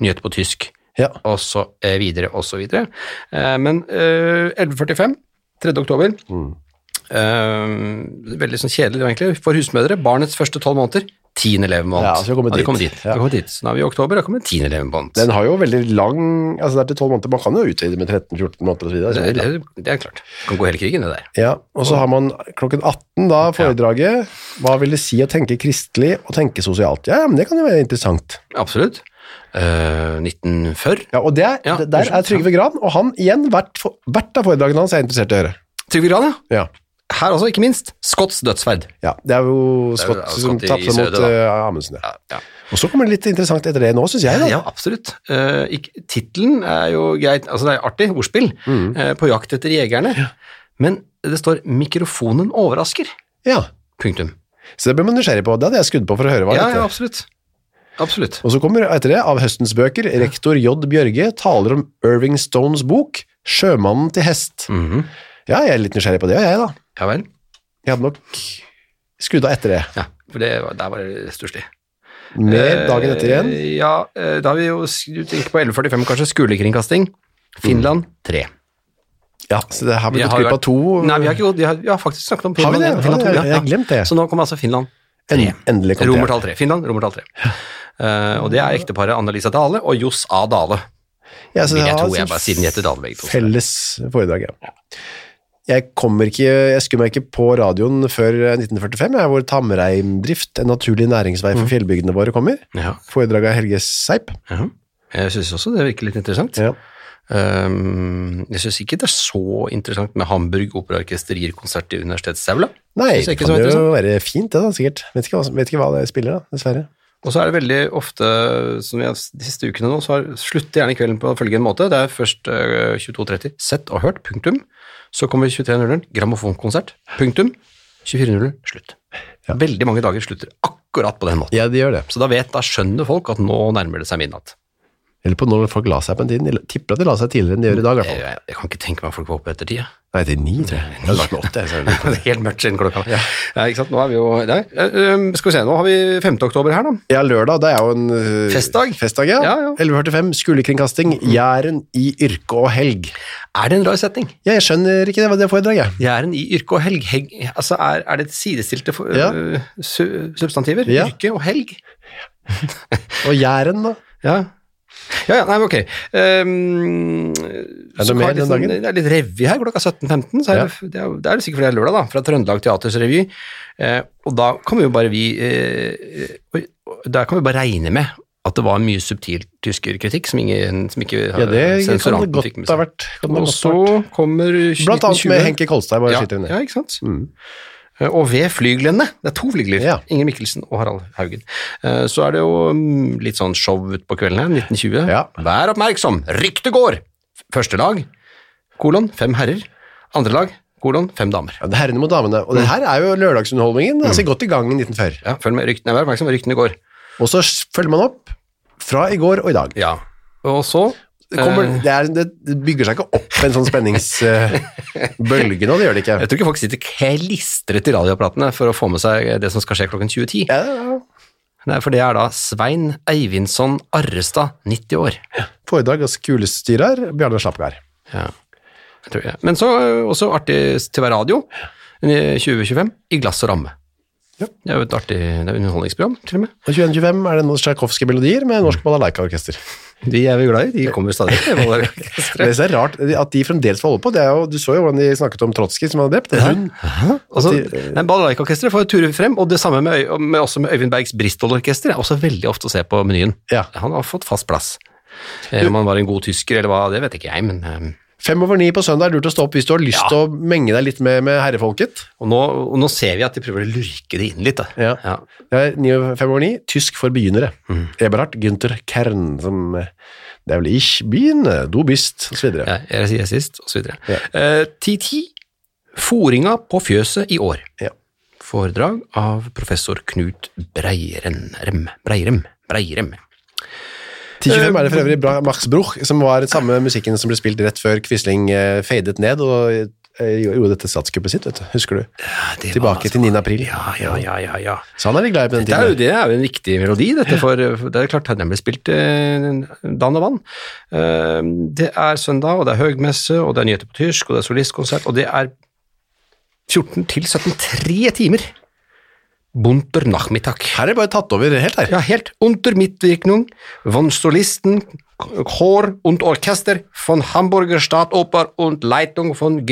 Speaker 2: nyheter på tysk,
Speaker 1: Ja.
Speaker 2: og så eh, videre, og så videre. Eh, men eh, 11.45, 3. oktober,
Speaker 1: Mm.
Speaker 2: eh, veldig sånn kjedelig egentlig, for husmødre, barnets første tolv måneder, tiende levemåned.
Speaker 1: Ja, så vi har kommet
Speaker 2: Ja,
Speaker 1: dit.
Speaker 2: vi kommer dit.
Speaker 1: Ja.
Speaker 2: Vi kommer dit. Så nå er vi i oktober, da kommer tiende levemåned.
Speaker 1: Den har jo veldig lang, altså det er til 12 måneder, man kan jo utvide med 13-14 måneder og så videre.
Speaker 2: det,
Speaker 1: hvis man vil, da.
Speaker 2: det, det er klart. Kan gå hele krigen, det der.
Speaker 1: Ja, og så har man klokken 18 da, foredraget. Hva vil det si å tenke kristelig og tenke sosialt? Ja, men det kan jo være interessant.
Speaker 2: Absolutt. Eh, 1940.
Speaker 1: Ja, og det, er-
Speaker 2: Ja,
Speaker 1: det der er
Speaker 2: unnskyld,
Speaker 1: Trygve Gran, og han igjen, hvert, for- hvert av foredragene hans er jeg interessert i å høre.
Speaker 2: Trygve Gran, ja.
Speaker 1: Ja,
Speaker 2: Her også, ikke minst. Skotts dødsferd.
Speaker 1: ja det er jo Scott,
Speaker 2: Scott
Speaker 1: som
Speaker 2: i- i
Speaker 1: tapte
Speaker 2: Søder,
Speaker 1: mot
Speaker 2: da.
Speaker 1: eh, Amundsen. Ja.
Speaker 2: Ja, ja.
Speaker 1: Og så kommer det litt interessant etter det nå, synes jeg. Da.
Speaker 2: Ja, absolutt. Uh, Tittelen er jo greit, altså det er artig, ordspill,
Speaker 1: Mm.
Speaker 2: eh, på jakt etter jegerne. Men det står 'mikrofonen overrasker'.
Speaker 1: Ja.
Speaker 2: Punktum.
Speaker 1: Så det ble man nysgjerrig på. Det hadde jeg skudd på for å høre hva det
Speaker 2: Ja,
Speaker 1: er.
Speaker 2: ja, absolutt. Absolutt.
Speaker 1: Og så kommer etter det, av høstens bøker, rektor J. Bjørge taler om Irving Stones bok Sjømannen til hest. Ja, jeg er litt nysgjerrig på det, og jeg da.
Speaker 2: Ja vel.
Speaker 1: Jeg hadde nok skrudd av etter det.
Speaker 2: Ja, for det, var- der var det stusslig.
Speaker 1: Mer dagen etter igjen.
Speaker 2: Eh, Ja, eh, da har vi jo s- du tenker på 11.45, kanskje. Skolekringkasting. Finland 3.
Speaker 1: Ja, så det har vi
Speaker 2: Jeg
Speaker 1: gått
Speaker 2: har
Speaker 1: glipp av
Speaker 2: vært-
Speaker 1: to. eh?
Speaker 2: Nei, vi har, ikke, gått- vi har, vi har faktisk snakket om
Speaker 1: Har vi
Speaker 2: Finland.
Speaker 1: det?
Speaker 2: ja, Finland
Speaker 1: Ja,
Speaker 2: to, ja,
Speaker 1: jeg har
Speaker 2: ja.
Speaker 1: glemt det.
Speaker 2: Så nå kommer altså Finland
Speaker 1: En, endelig kom det.
Speaker 2: Romertall 3. Finland, romertall 3. Eh, og det er ekteparet Anna-Lisa Dale og Johs A. Dale.
Speaker 1: Ja, så
Speaker 2: Vil jeg
Speaker 1: det
Speaker 2: tro
Speaker 1: var
Speaker 2: jeg
Speaker 1: sånn
Speaker 2: bare siden de heter Dale begge to.
Speaker 1: Felles foredrag, ja. Jeg kommer ikke, jeg skummer meg ikke på radioen før 1945, jeg, hvor tamreimdrift, en naturlig næringsvei
Speaker 2: Mm.
Speaker 1: for fjellbygdene våre, kommer.
Speaker 2: Ja,
Speaker 1: Foredrag av Helge Seip.
Speaker 2: ja. Jeg syns også det virker litt interessant.
Speaker 1: Ja.
Speaker 2: Ehm, jeg syns ikke det er så interessant med Hamburg Operaorkester gir konsert i universitetsaula.
Speaker 1: Nei,
Speaker 2: Synes
Speaker 1: det
Speaker 2: jeg ikke
Speaker 1: kan
Speaker 2: så liksom.
Speaker 1: jo
Speaker 2: interessant.
Speaker 1: være fint det da, sikkert. Vet ikke, hva, vet ikke hva det spiller da, dessverre.
Speaker 2: Og så er det veldig ofte, som jeg, de siste ukene nå, så har, slutter gjerne kvelden på følgende måte. Det er først eh, 22.30 sett og hørt, punktum. Så kommer 23.00 grammofonkonsert, punktum. 24.00 slutt. Veldig mange dager slutter akkurat på den måten.
Speaker 1: Ja, de gjør det.
Speaker 2: Så da vet, da skjønner folk at nå nærmer det seg midnatt.
Speaker 1: Eller på når folk la seg på en tid, de tipper at de la seg tidligere enn de gjør i dag i hvert
Speaker 2: Jeg,
Speaker 1: fall.
Speaker 2: jeg, jeg kan ikke tenke meg at folk var oppe etter tida.
Speaker 1: Nei, det er ni, tror jeg. Jeg har lagt meg åtte, jeg, så er det
Speaker 2: Det er helt mørkt siden klokka. Ja. ikke sant? Nå er vi jo der. Eh, eh, skal vi se, nå har vi 5. oktober her, da.
Speaker 1: Ja, lørdag, det er jo en... øh,
Speaker 2: Festdag.
Speaker 1: Festdag, ja.
Speaker 2: Ja, ja.
Speaker 1: 11.45, skolekringkasting, Jæren i yrke og helg.
Speaker 2: Er det en rar setning?
Speaker 1: Ja, jeg skjønner ikke det, hva det foredraget.
Speaker 2: Jæren i yrke og helg. helg altså er, er det sidestilte for,
Speaker 1: Ja.
Speaker 2: øh, su, substantiver?
Speaker 1: Ja.
Speaker 2: Yrke og helg?
Speaker 1: Og Jæren da?
Speaker 2: Ja. Ja, ja, nei, men ok. Ehm,
Speaker 1: det
Speaker 2: så
Speaker 1: mer
Speaker 2: har jeg litt
Speaker 1: den
Speaker 2: sånn-
Speaker 1: dagen?
Speaker 2: Det er litt revy her klokka 17.15, så er
Speaker 1: Ja.
Speaker 2: det, det, er, jo- det er det sikkert fordi det er lørdag, da, fra Trøndelag Teaters revy. Eh, og da kan vi jo bare vi eh, oi, Da kan vi bare regne med at det var mye subtil tyskerkritikk som, ingen, som ikke
Speaker 1: Ja, det kan
Speaker 2: sensoranten
Speaker 1: det
Speaker 2: fikk med
Speaker 1: godt
Speaker 2: seg.
Speaker 1: ha vært. Kan det
Speaker 2: Og
Speaker 1: godt ha
Speaker 2: så
Speaker 1: vært.
Speaker 2: kommer
Speaker 1: Blant annet
Speaker 2: 1920.
Speaker 1: med Henke Kolstad, bare
Speaker 2: ja,
Speaker 1: skyter Mm. vi ned.
Speaker 2: ja, ikke sant? Eh, Og ved flyglene, det er to flygler,
Speaker 1: Ja.
Speaker 2: Inger Mikkelsen og Harald Haugen, eh, så er det jo mm, litt sånn show utpå kvelden her, 1920.
Speaker 1: Ja.
Speaker 2: Vær oppmerksom, ryktet går! Første lag, kolon, fem herrer. Andre lag, kolon, fem damer.
Speaker 1: Ja, det er herrene mot damene. Og det
Speaker 2: Mm.
Speaker 1: her er jo lørdagsunderholdningen, altså godt i gang i 1940.
Speaker 2: Ja, følg med, ryktene, vær oppmerksom, ryktene går.
Speaker 1: Og så s- følger man opp fra i går og i dag.
Speaker 2: Ja. Og så
Speaker 1: Det, kommer,
Speaker 2: eh,
Speaker 1: det, er, det bygger seg ikke opp en sånn spenningsbølge nå, det gjør det ikke.
Speaker 2: Jeg tror ikke folk sitter klistret i radioapparatene for å få med seg det som skal skje klokken 20.10.
Speaker 1: Ja, ja, ja.
Speaker 2: Nei, for det er da Svein Eivindsson Arrestad, 90 år.
Speaker 1: Foredrag av skulestyrer Bjarne Slappgard.
Speaker 2: Ja, jeg tror det. Men så ø, også artig til hver radio, i 2025, i glass og ramme.
Speaker 1: Ja.
Speaker 2: Det er jo et artig det er et underholdningsprogram, til og med.
Speaker 1: Og 2125 er det noen tsjajkovske melodier med Norsk Balalaika-orkester.
Speaker 2: De er vi glad i, de kommer stadig.
Speaker 1: Det som er rart at de fremdeles får holde på. Det er jo, du så jo hvordan de snakket om Trotskij som hadde drept. og Hun,
Speaker 2: Også, nei, Balalaika-orkesteret får ture frem, og det samme med, Øy- og med, også med Øyvind Bergs Bristol-orkester, er også veldig ofte å se på menyen.
Speaker 1: Ja.
Speaker 2: Han har fått fast plass. Eh, Om han var en god tysker eller hva, det vet ikke jeg, men... eh, ø,
Speaker 1: fem over ni på søndag er lurt å stå opp hvis du har lyst
Speaker 2: Ja.
Speaker 1: til å menge deg litt med, med herrefolket.
Speaker 2: Og nå, og nå ser vi at de prøver å lurke det inn litt, da.
Speaker 1: Ja. Det er 9 over- fem over ni, tysk for begynnere.
Speaker 2: Mm.
Speaker 1: Eberhard Günther Kern, som eh, det er vel ich bin, eh, du bist, og så videre.
Speaker 2: Ja, jeg sier sist, og så videre.
Speaker 1: Ja.
Speaker 2: Eh, 10.10. Foringa på fjøset i år.
Speaker 1: Ja.
Speaker 2: Foredrag av professor Knut Breirem. Breirem. Breirem.
Speaker 1: 10.25 er det
Speaker 2: Eh,
Speaker 1: for øvrig bra, Max Bruch, som var samme musikken som ble spilt rett før Quisling eh, fadet ned, og eh, gjorde dette statskuppet sitt, vet du. Husker du?
Speaker 2: Ja, det var
Speaker 1: Tilbake
Speaker 2: altså-
Speaker 1: til 9. april.
Speaker 2: Ja, ja, ja, ja, ja.
Speaker 1: Så han er litt glad i på den
Speaker 2: Det er, jo,
Speaker 1: tiden.
Speaker 2: det er jo en viktig melodi, dette, for for det er klart den ble spilt eh, dan og vann. Eh, Det er søndag, og det er høgmesse, og det er nyheter på tysk, og det er solistkonsert, og det er 14 til 17, tre timer. Bunter Nachmittag.
Speaker 1: Her er det bare tatt over helt her.
Speaker 2: Ja, helt under Mitwirkung von Solisten, Chor und Orchester von Hamburger Staatsoper und Leitung von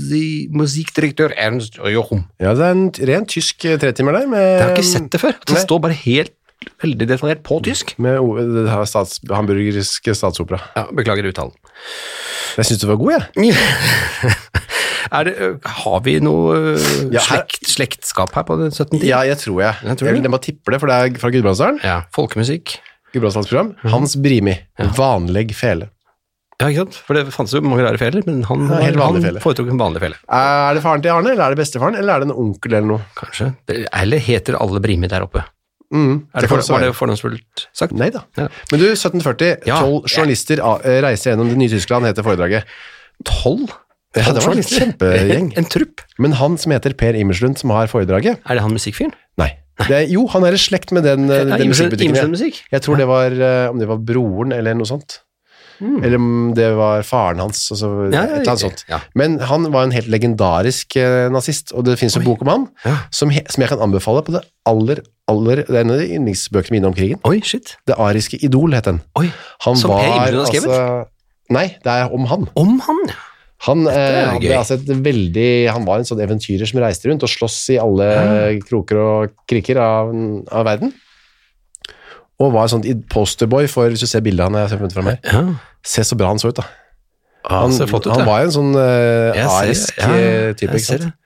Speaker 2: Generalmusikdirektør Ernst Jochum. Ehm,
Speaker 1: Ja, det er en t- ren tysk eh, tretimer der. Med,
Speaker 2: Jeg har ikke sett det før. at Det
Speaker 1: Nei.
Speaker 2: står bare helt veldig detaljert på tysk.
Speaker 1: Med o- det her stats, hamburgerske statsopera.
Speaker 2: Ja, Beklager uttalen.
Speaker 1: Jeg synes du var god, jeg.
Speaker 2: Er det, ø, har vi noe ø,
Speaker 1: Ja, her-
Speaker 2: slekt, slektskap her på den 17. tiden?
Speaker 1: Ja, jeg tror jeg.
Speaker 2: Jeg
Speaker 1: Jeg,
Speaker 2: tror det.
Speaker 1: vil- jeg må tippe det, for det er fra Gudbrandsdalen.
Speaker 2: Ja, Folkemusikk.
Speaker 1: Gudbrandsdalens program. Hans Brimi. Vanlig fele.
Speaker 2: Ja, ikke sant? For det fantes jo mange rare feler, men han,
Speaker 1: Ja, helt vanlig
Speaker 2: han
Speaker 1: fele.
Speaker 2: foretok en vanlig fele.
Speaker 1: Er det faren til Arne, eller er det bestefaren, eller er det en onkel eller noe?
Speaker 2: Kanskje. Eller heter alle Brimi der oppe? Er det for, var det fordomsfullt sagt?
Speaker 1: Mm. Nei da.
Speaker 2: Ja.
Speaker 1: Men du, 1740,
Speaker 2: Ja.
Speaker 1: tolv journalister ah, eh, reiser gjennom det nye Tyskland, heter foredraget.
Speaker 2: Tolv?
Speaker 1: Ja, det var en kjempegjeng.
Speaker 2: En trupp.
Speaker 1: Men han som heter Per Imerslund, som har foredraget,
Speaker 2: Er det han musikkfyren?
Speaker 1: nei. Det er, jo, han er i slekt med den, eh,
Speaker 2: Ja,
Speaker 1: den
Speaker 2: Imerslund-
Speaker 1: musikkbutikken. ja.
Speaker 2: Imerslund musikk?
Speaker 1: Jeg tror det var, eh, om det var broren eller noe sånt. Eller om det var faren hans, altså,
Speaker 2: Hmm. Ja, ja,
Speaker 1: et eller annet
Speaker 2: riktig.
Speaker 1: sånt.
Speaker 2: Ja.
Speaker 1: Men han var en helt legendarisk eh, nazist, og det finnes en bok om han,
Speaker 2: Ja.
Speaker 1: som, he, som jeg kan anbefale på det aller, aller, det er en av de yndlingsbøkene mine om krigen.
Speaker 2: Oi, shit.
Speaker 1: Det ariske idol het den.
Speaker 2: Oi.
Speaker 1: Han altså-
Speaker 2: Som Per Imerslund har skrevet?
Speaker 1: nei, det er om han.
Speaker 2: Om han, ja.
Speaker 1: Han, eh,
Speaker 2: jo
Speaker 1: hadde,
Speaker 2: gøy.
Speaker 1: altså et veldig, han var en sånn eventyrer som reiste rundt og sloss i alle
Speaker 2: Ah.
Speaker 1: kroker og kriker av, av verden. Og var en sånn id- posterboy for, hvis du ser bildet han har funnet fra meg,
Speaker 2: ja.
Speaker 1: se så bra han så ut da.
Speaker 2: Ah,
Speaker 1: Han,
Speaker 2: ser flott ut,
Speaker 1: han
Speaker 2: ja.
Speaker 1: var en sånn eh,
Speaker 2: Jeg ser-
Speaker 1: arisk
Speaker 2: ja,
Speaker 1: eh, type,
Speaker 2: jeg
Speaker 1: ikke
Speaker 2: ser
Speaker 1: sant?
Speaker 2: det.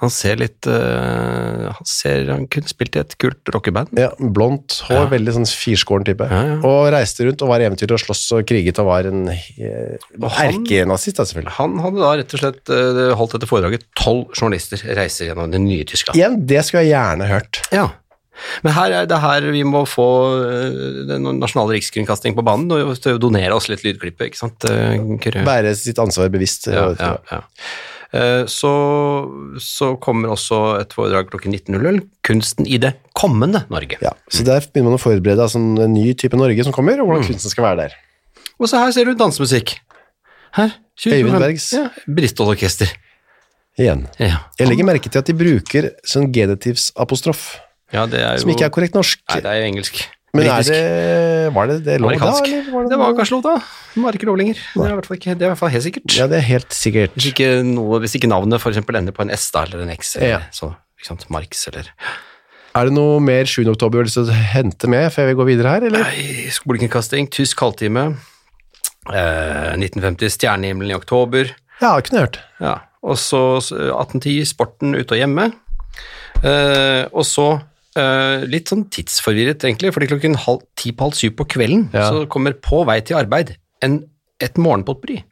Speaker 2: Han ser litt eh, Han ser han kunne spilt i et kult rockeband.
Speaker 1: Ja, blondt hår,
Speaker 2: Ja.
Speaker 1: veldig sånn firskåren type.
Speaker 2: Ja, ja.
Speaker 1: Og reiste rundt og var eventyrer og sloss og kriget og var en eh,
Speaker 2: Og han-
Speaker 1: erkenazist da, selvfølgelig.
Speaker 2: Han hadde da rett og slett eh, holdt dette foredraget. Tolv journalister reiser gjennom det nye Tyskland.
Speaker 1: Igjen, det skulle jeg gjerne hørt.
Speaker 2: Ja. Men her er det her vi må få eh, den nasjonale rikskringkasting på banen og til å donere oss litt lydklippet, ikke sant? eh, Kyrre?
Speaker 1: Være sitt ansvar bevisst.
Speaker 2: Ja,
Speaker 1: og-
Speaker 2: ja, ja. Eh, Så, så kommer også et foredrag klokken 19.00, 'Kunsten i det kommende Norge'.
Speaker 1: Ja, så der begynner man å forberede altså, en ny type Norge som kommer, og
Speaker 2: Mm.
Speaker 1: hvordan kunsten skal være der.
Speaker 2: Og så her ser du dansemusikk. Her. 2025.
Speaker 1: Øyvind Bergs.
Speaker 2: Ja, Bristol-orkester.
Speaker 1: Igjen.
Speaker 2: Ja.
Speaker 1: Jeg legger merke til at de bruker sånn genitivsapostrof,
Speaker 2: ja, det er jo
Speaker 1: som ikke er korrekt norsk.
Speaker 2: Nei, det er jo engelsk.
Speaker 1: Men er
Speaker 2: Britisk.
Speaker 1: det, var det det lå da,
Speaker 2: Amerikansk.
Speaker 1: eller var det
Speaker 2: Det var kanskje lov, da. Det var ikke lov lenger. Det er i hvert fall, ikke, det er i hvert fall helt sikkert.
Speaker 1: Ja, det er helt sikkert.
Speaker 2: Hvis, ikke noe, hvis ikke navnet for eksempel ender på en S da, eller en X, eller
Speaker 1: Ja.
Speaker 2: så, ikke sant, Marx, eller
Speaker 1: Er det noe mer 7. oktober du har lyst til å hente med før vi går videre her, eller?
Speaker 2: Nei, Skolekringkasting, tysk halvtime, eh, 1950, stjernehimmelen i oktober,
Speaker 1: Ja, det kunne jeg hørt.
Speaker 2: ja. og så så 1810, sporten ute og hjemme, eh, og så eh, litt sånn tidsforvirret egentlig, fordi klokken halv, ti på halv syv på kvelden,
Speaker 1: Ja.
Speaker 2: så kommer på vei til arbeid en, et morgenpotbry.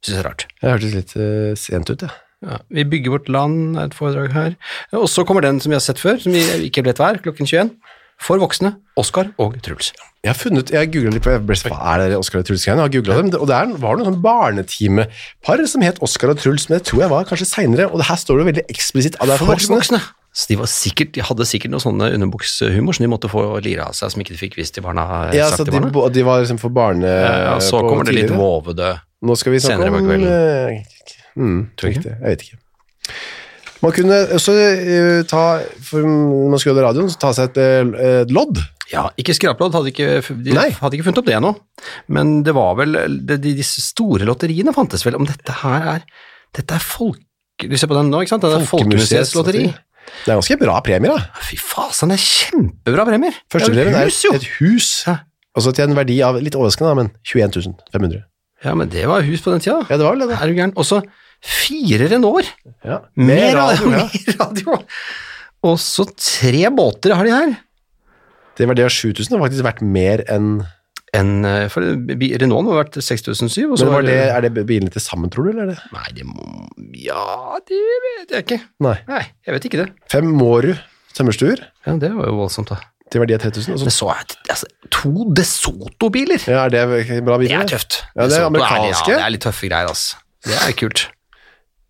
Speaker 2: Synes jeg er rart.
Speaker 1: Jeg hørtes litt eh, sent ut, ja.
Speaker 2: Ja, vi bygger vårt land, er et foredrag her. Og så kommer den som vi har sett før, som vi ikke vet hva er, klokken 21. For voksne, Oskar og Truls.
Speaker 1: Jeg har funnet, jeg har googlet litt på jeg ble så- Hva er det Oskar og Truls-greiene? Jeg har googlet dem, og der var det noen sånn barnetimepar som het Oskar og Truls, men det tror jeg var kanskje senere, og det her står det jo veldig eksplisitt at det er for voksne.
Speaker 2: Så de, var sikkert, de hadde sikkert noe sånne underbuksehumor som de måtte få lire av seg, som ikke de fikk vist til barna.
Speaker 1: Ja,
Speaker 2: sagt
Speaker 1: så
Speaker 2: til
Speaker 1: de,
Speaker 2: barna.
Speaker 1: bo- de var liksom for barne...
Speaker 2: Ja, og så
Speaker 1: på
Speaker 2: kommer det litt
Speaker 1: tidligere.
Speaker 2: vovede
Speaker 1: Nå skal vi snakke
Speaker 2: senere på
Speaker 1: om...
Speaker 2: kvelden.
Speaker 1: eh, Mm,
Speaker 2: Tror ikke.
Speaker 1: riktig. Jeg vet ikke. Man kunne også eh, ta, for når man skulle høre radioen, så ta seg et, eh, et lodd.
Speaker 2: Ja, ikke skraplodd, hadde ikke, de
Speaker 1: Nei.
Speaker 2: hadde ikke funnet opp det ennå. Men det var vel det, de, Disse store lotteriene fantes vel. Om dette her er Dette er folk... Du ser på den nå, ikke sant? Det er Folkemuseets lotteri.
Speaker 1: Det er ganske bra premier, da.
Speaker 2: Fy faen, det er kjempebra premier!
Speaker 1: Første
Speaker 2: det
Speaker 1: premien
Speaker 2: er
Speaker 1: er
Speaker 2: jo hus, jo!
Speaker 1: et hus,
Speaker 2: Ja.
Speaker 1: også til en verdi av litt overraskende, da, men 21 500.
Speaker 2: Ja, men det var hus på den tida.
Speaker 1: Ja, det var vel det, da.
Speaker 2: Er du gæren? Og så fire Renault!
Speaker 1: Ja.
Speaker 2: Mer radio!
Speaker 1: ja.
Speaker 2: Mer radio. Og så tre båter har de her.
Speaker 1: Det var det av 7000 har faktisk vært mer enn...
Speaker 2: En, eh, for bi- Renaulten må ha vært 6007, og så
Speaker 1: Men var
Speaker 2: var
Speaker 1: det, er det bilene til sammen, tror du, eller er det?
Speaker 2: Nei, det må Ja, det vet jeg ikke.
Speaker 1: Nei.
Speaker 2: Nei, jeg vet ikke det.
Speaker 1: Fem Måru tømmerstuer,
Speaker 2: Ja, Det var jo voldsomt, da.
Speaker 1: til verdi av 3000, og så
Speaker 2: Men så er det altså, to De Soto-biler!
Speaker 1: Ja, er det bra
Speaker 2: Det
Speaker 1: biler?
Speaker 2: er
Speaker 1: det?
Speaker 2: tøft.
Speaker 1: Ja, det er
Speaker 2: De Soto
Speaker 1: amerikanske.
Speaker 2: Ja, det er litt tøffe greier, altså. Det er kult.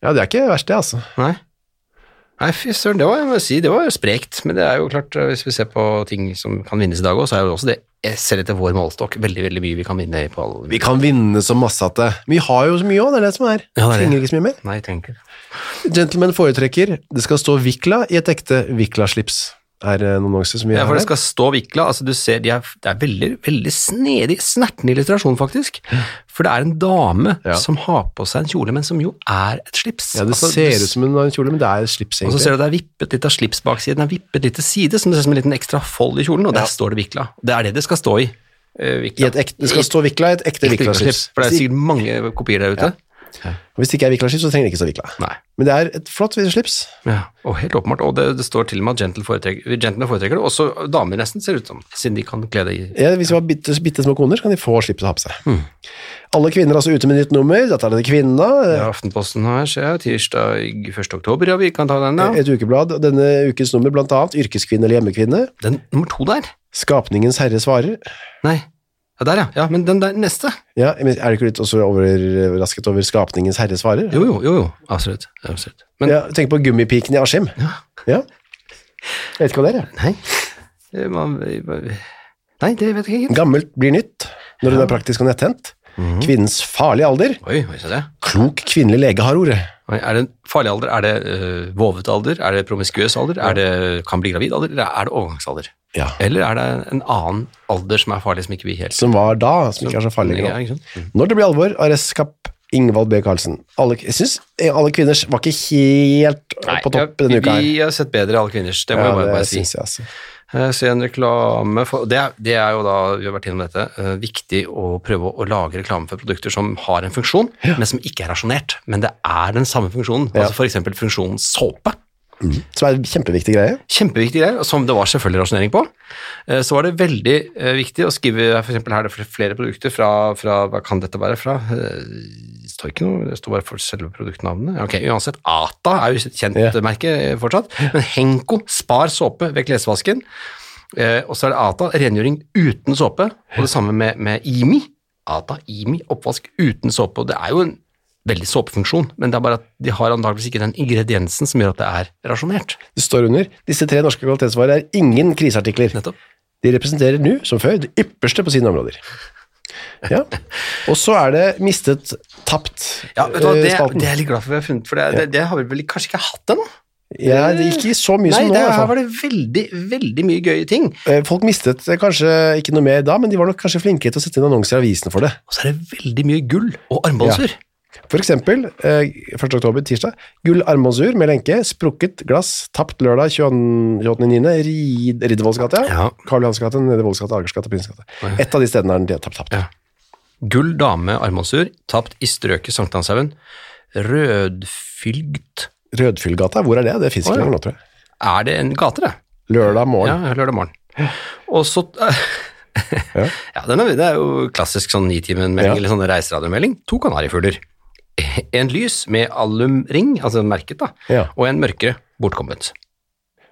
Speaker 1: Ja, det er ikke verst det, altså.
Speaker 2: Nei. Nei, fy søren, det var, jeg må si, det var jo sprekt, men det er jo klart, eh, hvis vi ser på ting som kan vinnes i dag òg, så er jo også det, eh, selv etter vår målestokk, veldig veldig mye vi kan vinne på alle
Speaker 1: Vi kan vinne så masse at det. Vi har jo så mye òg, det er det som er.
Speaker 2: Ja, det er det.
Speaker 1: Trenger ikke så mye mer.
Speaker 2: Nei, jeg trenger ikke det.
Speaker 1: Gentlemen foretrekker, det skal stå Vikla i et ekte Vikla-slips. Er det noen annonser som vi
Speaker 2: Ja,
Speaker 1: har
Speaker 2: for det
Speaker 1: her?
Speaker 2: skal stå vikla. altså du ser, de er, Det er veldig veldig snedig, snerten illustrasjon, faktisk. For det er en dame
Speaker 1: Ja.
Speaker 2: som har på seg en kjole, men som jo er et slips.
Speaker 1: Ja, det
Speaker 2: Altså,
Speaker 1: ser
Speaker 2: du-
Speaker 1: ut som en har en kjole, men det er slips,
Speaker 2: Og så
Speaker 1: egentlig.
Speaker 2: ser du det er vippet litt av slipsbaksiden, er vippet litt til side, som det ser ut som en liten ekstra fold i kjolen, og
Speaker 1: Ja.
Speaker 2: der står det vikla. Det er det det skal stå i. eh, Vikla.
Speaker 1: I et ekte, det skal stå Vikla i et ekte
Speaker 2: Vikla-slips,
Speaker 1: Vikla-slips.
Speaker 2: For det er sikkert mange kopier der ute. Ja.
Speaker 1: Hvis det ikke er vikla-slips, så trenger det ikke stå vikla.
Speaker 2: Nei.
Speaker 1: Men det er et flott slips.
Speaker 2: Ja, og helt åpenbart. Og det, det står til og med at gentle foretrekker, gentlene foretrekker det. Også damer nesten, ser det ut som, siden de kan kle det i
Speaker 1: Ja, hvis de har bitte, bitte små koner, så kan de få slips å ha på seg.
Speaker 2: Hmm.
Speaker 1: Alle kvinner er altså ute med nytt nummer. Dette er det kvinna.
Speaker 2: ja, Aftenposten her, ser jeg. Tirsdag 1. oktober, ja, vi kan ta den, ja.
Speaker 1: Et ukeblad. og Denne ukens nummer blant annet yrkeskvinne eller hjemmekvinne.
Speaker 2: Den nummer to der?
Speaker 1: Skapningens herre svarer.
Speaker 2: Nei. Ja, der, ja. ja. Men den der neste?
Speaker 1: Ja, men er du ikke litt også overrasket over skapningens herre svarer?
Speaker 2: Jo, jo, jo. jo. Absolutt. Absolutt. Men
Speaker 1: Ja, tenk på gummipiken i Askim.
Speaker 2: Ja.
Speaker 1: Ja. Jeg vet ikke hva det er. jeg.
Speaker 2: Nei. Det, man, nei, det vet jeg ikke.
Speaker 1: Gammelt blir nytt når hun er praktisk og netthendt.
Speaker 2: Mhm.
Speaker 1: Kvinnens farlige alder.
Speaker 2: Oi, hva sa det?
Speaker 1: Klok kvinnelig lege har ordet.
Speaker 2: Oi, Er det en farlig alder? Er det øh, vovet alder? Er det promiskuøs alder? Er det kan bli gravid alder? Eller er det overgangsalder?
Speaker 1: Ja.
Speaker 2: Eller er det en annen alder som er farlig, som ikke vi helt
Speaker 1: Som var da, som ikke er så farlig. nå.
Speaker 2: Ja, ikke sant?
Speaker 1: Når det blir alvor, arrestkapp Ingvald B. Carlsen. Alle, jeg synes eh, alle kvinner var ikke helt
Speaker 2: Nei,
Speaker 1: på topp
Speaker 2: ja,
Speaker 1: denne uka her.
Speaker 2: Vi har sett bedre alle kvinners, det
Speaker 1: Ja,
Speaker 2: må jeg bare,
Speaker 1: det
Speaker 2: bare si.
Speaker 1: synes jeg, altså.
Speaker 2: Jeg ser en reklame for det er, det er jo da, vi har vært innom dette, eh, viktig å prøve å lage reklame for produkter som har en funksjon, men som ikke er rasjonert. Men det er den samme funksjonen.
Speaker 1: Ja.
Speaker 2: Altså f.eks. funksjonen såpe.
Speaker 1: Som er en kjempeviktig greie.
Speaker 2: Kjempeviktig greier, og som det var selvfølgelig rasjonering på. Eh, Så var det veldig eh, viktig å skrive for eksempel her er det fl- flere produkter fra, fra Hva kan dette være fra? Eh, Det står ikke noe, det står bare for selve produktnavnet. Ok, Uansett, Ata er jo et kjent
Speaker 1: Ja.
Speaker 2: eh, merke eh, fortsatt. Men Henko spar såpe ved klesvasken. Eh, Og så er det Ata, rengjøring uten såpe. Og det samme med, med Imi. Ata, Imi, oppvask uten såpe. Og det er jo en veldig såpefunksjon, men det er bare at de har antageligvis ikke den ingrediensen som gjør at det er rasjonert.
Speaker 1: Det står under. Disse tre norske kvalitetsvarer er ingen kriseartikler.
Speaker 2: Nettopp.
Speaker 1: De representerer nå, som før, det ypperste på sine områder. Ja. Og så er det mistet, tapt
Speaker 2: Ja, vet du hva,
Speaker 1: eh,
Speaker 2: det,
Speaker 1: spalten.
Speaker 2: det er jeg litt glad for vi har funnet, for det, det, det har vi vel kanskje ikke hatt ennå?
Speaker 1: ja, det gikk ikke så mye
Speaker 2: Nei,
Speaker 1: som nå,
Speaker 2: det,
Speaker 1: i hvert
Speaker 2: her
Speaker 1: fall.
Speaker 2: var det veldig, veldig mye gøye ting. Og
Speaker 1: Eh, Folk mistet eh, kanskje ikke noe mer da, men de var nok kanskje flinkere til å sette inn annonser i avisen for det.
Speaker 2: så er det veldig mye gull og armbåndsur.
Speaker 1: For eksempel, eh, 1. oktober, tirsdag, gull armbåndsur med lenke, sprukket glass, tapt lørdag 28.9., Rid- Riddervollsgata,
Speaker 2: Ja.
Speaker 1: Karl Johans gate, Nedre Vollsgata, Akersgata, Prinsgata. Et av de stedene er den de har tapt. tapt.
Speaker 2: Ja. Gull dame armbåndsur, tapt i strøket Sankthanshaugen. Rødfylgt
Speaker 1: Rødfyllgata, hvor er det? Det finnes
Speaker 2: Å,
Speaker 1: ikke
Speaker 2: ja.
Speaker 1: lenger nå, tror jeg.
Speaker 2: Er det en gate, det?
Speaker 1: Lørdag morgen.
Speaker 2: Ja, lørdag morgen. Og så
Speaker 1: Ja.
Speaker 2: Ja, den er, det er jo klassisk sånn Nitimen-melding,
Speaker 1: Ja.
Speaker 2: eller sånn reiseradiomelding. To kanarifugler. En lys med alumring, altså merket, da,
Speaker 1: Ja.
Speaker 2: og en mørkere bortkommet.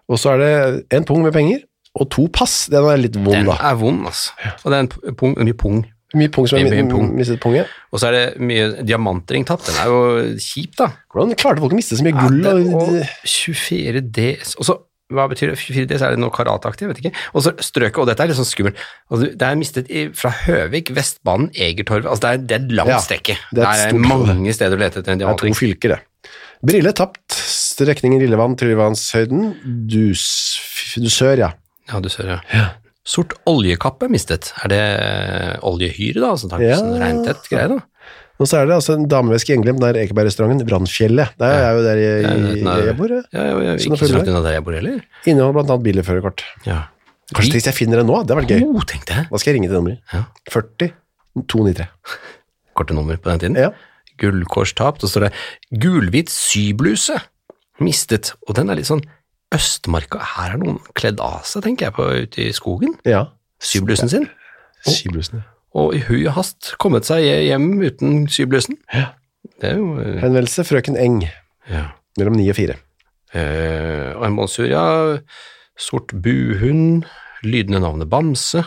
Speaker 1: Og så er det en pung med penger, og to pass. Den er litt vond,
Speaker 2: Den
Speaker 1: da.
Speaker 2: er vond, altså. Og det er en p- pung, mye pung.
Speaker 1: Mye pung som er
Speaker 2: Mye- mye
Speaker 1: mi-
Speaker 2: pung.
Speaker 1: mistet punget.
Speaker 2: Og så er det mye diamantring tapt. Den er jo kjip, da.
Speaker 1: Hvordan klarte folk å miste så mye
Speaker 2: Ja,
Speaker 1: gull?
Speaker 2: det-
Speaker 1: og...
Speaker 2: og 24 D Og så, hva betyr det? 24 D, så er det noe karataktig, jeg vet ikke. Og så strøket, og dette er litt sånn skummelt. Altså, det er mistet i, fra Høvik, Vestbanen, Egertorvet. Altså, det er, det er et langt
Speaker 1: Ja,
Speaker 2: strekke.
Speaker 1: det er et
Speaker 2: Der er
Speaker 1: stort område.
Speaker 2: mange steder å lete etter en
Speaker 1: Det er to
Speaker 2: diamantring.
Speaker 1: fylker, det. Brille tapt, strekningen Lillevann, Tryllevannshøyden, dus, f- dusør, ja.
Speaker 2: Ja, du ser, ja. Sort oljekappe mistet. Er det eh, oljehyre, da? Sånn,
Speaker 1: Ja.
Speaker 2: sånn regntett greie, da?
Speaker 1: Og så er det altså en dameveske gjengglemt nær Ekeberg-restauranten Brannfjellet. Der er jeg jo der
Speaker 2: Ja,
Speaker 1: jeg,
Speaker 2: den er-
Speaker 1: jeg bor. jeg.
Speaker 2: Ja, ja, ja,
Speaker 1: Så nå
Speaker 2: ikke så
Speaker 1: følger
Speaker 2: langt unna der jeg bor heller.
Speaker 1: Inneholder blant annet bilførerkort.
Speaker 2: Ja.
Speaker 1: Kanskje hvis jeg finner det nå, det hadde vært gøy.
Speaker 2: Oh, tenkte jeg.
Speaker 1: Da skal jeg ringe til nummeret.
Speaker 2: Ja.
Speaker 1: 40 293.
Speaker 2: Korte nummer på den tiden.
Speaker 1: Ja.
Speaker 2: Gullkors tapt, og så står det gulhvit sybluse mistet. Og den er litt sånn Østmarka, her er noen kledd av seg, tenker jeg på, ute i skogen.
Speaker 1: ja.
Speaker 2: Syblusen sin.
Speaker 1: Skiblusene.
Speaker 2: Og i hui og hast kommet seg hjem uten syblusen.
Speaker 1: Ja.
Speaker 2: Det er jo eh,
Speaker 1: Henvendelse frøken Eng,
Speaker 2: ja.
Speaker 1: mellom 9 og 4.
Speaker 2: Eh, og en monsur, ja. Sort buhund, lydende navnet Bamse.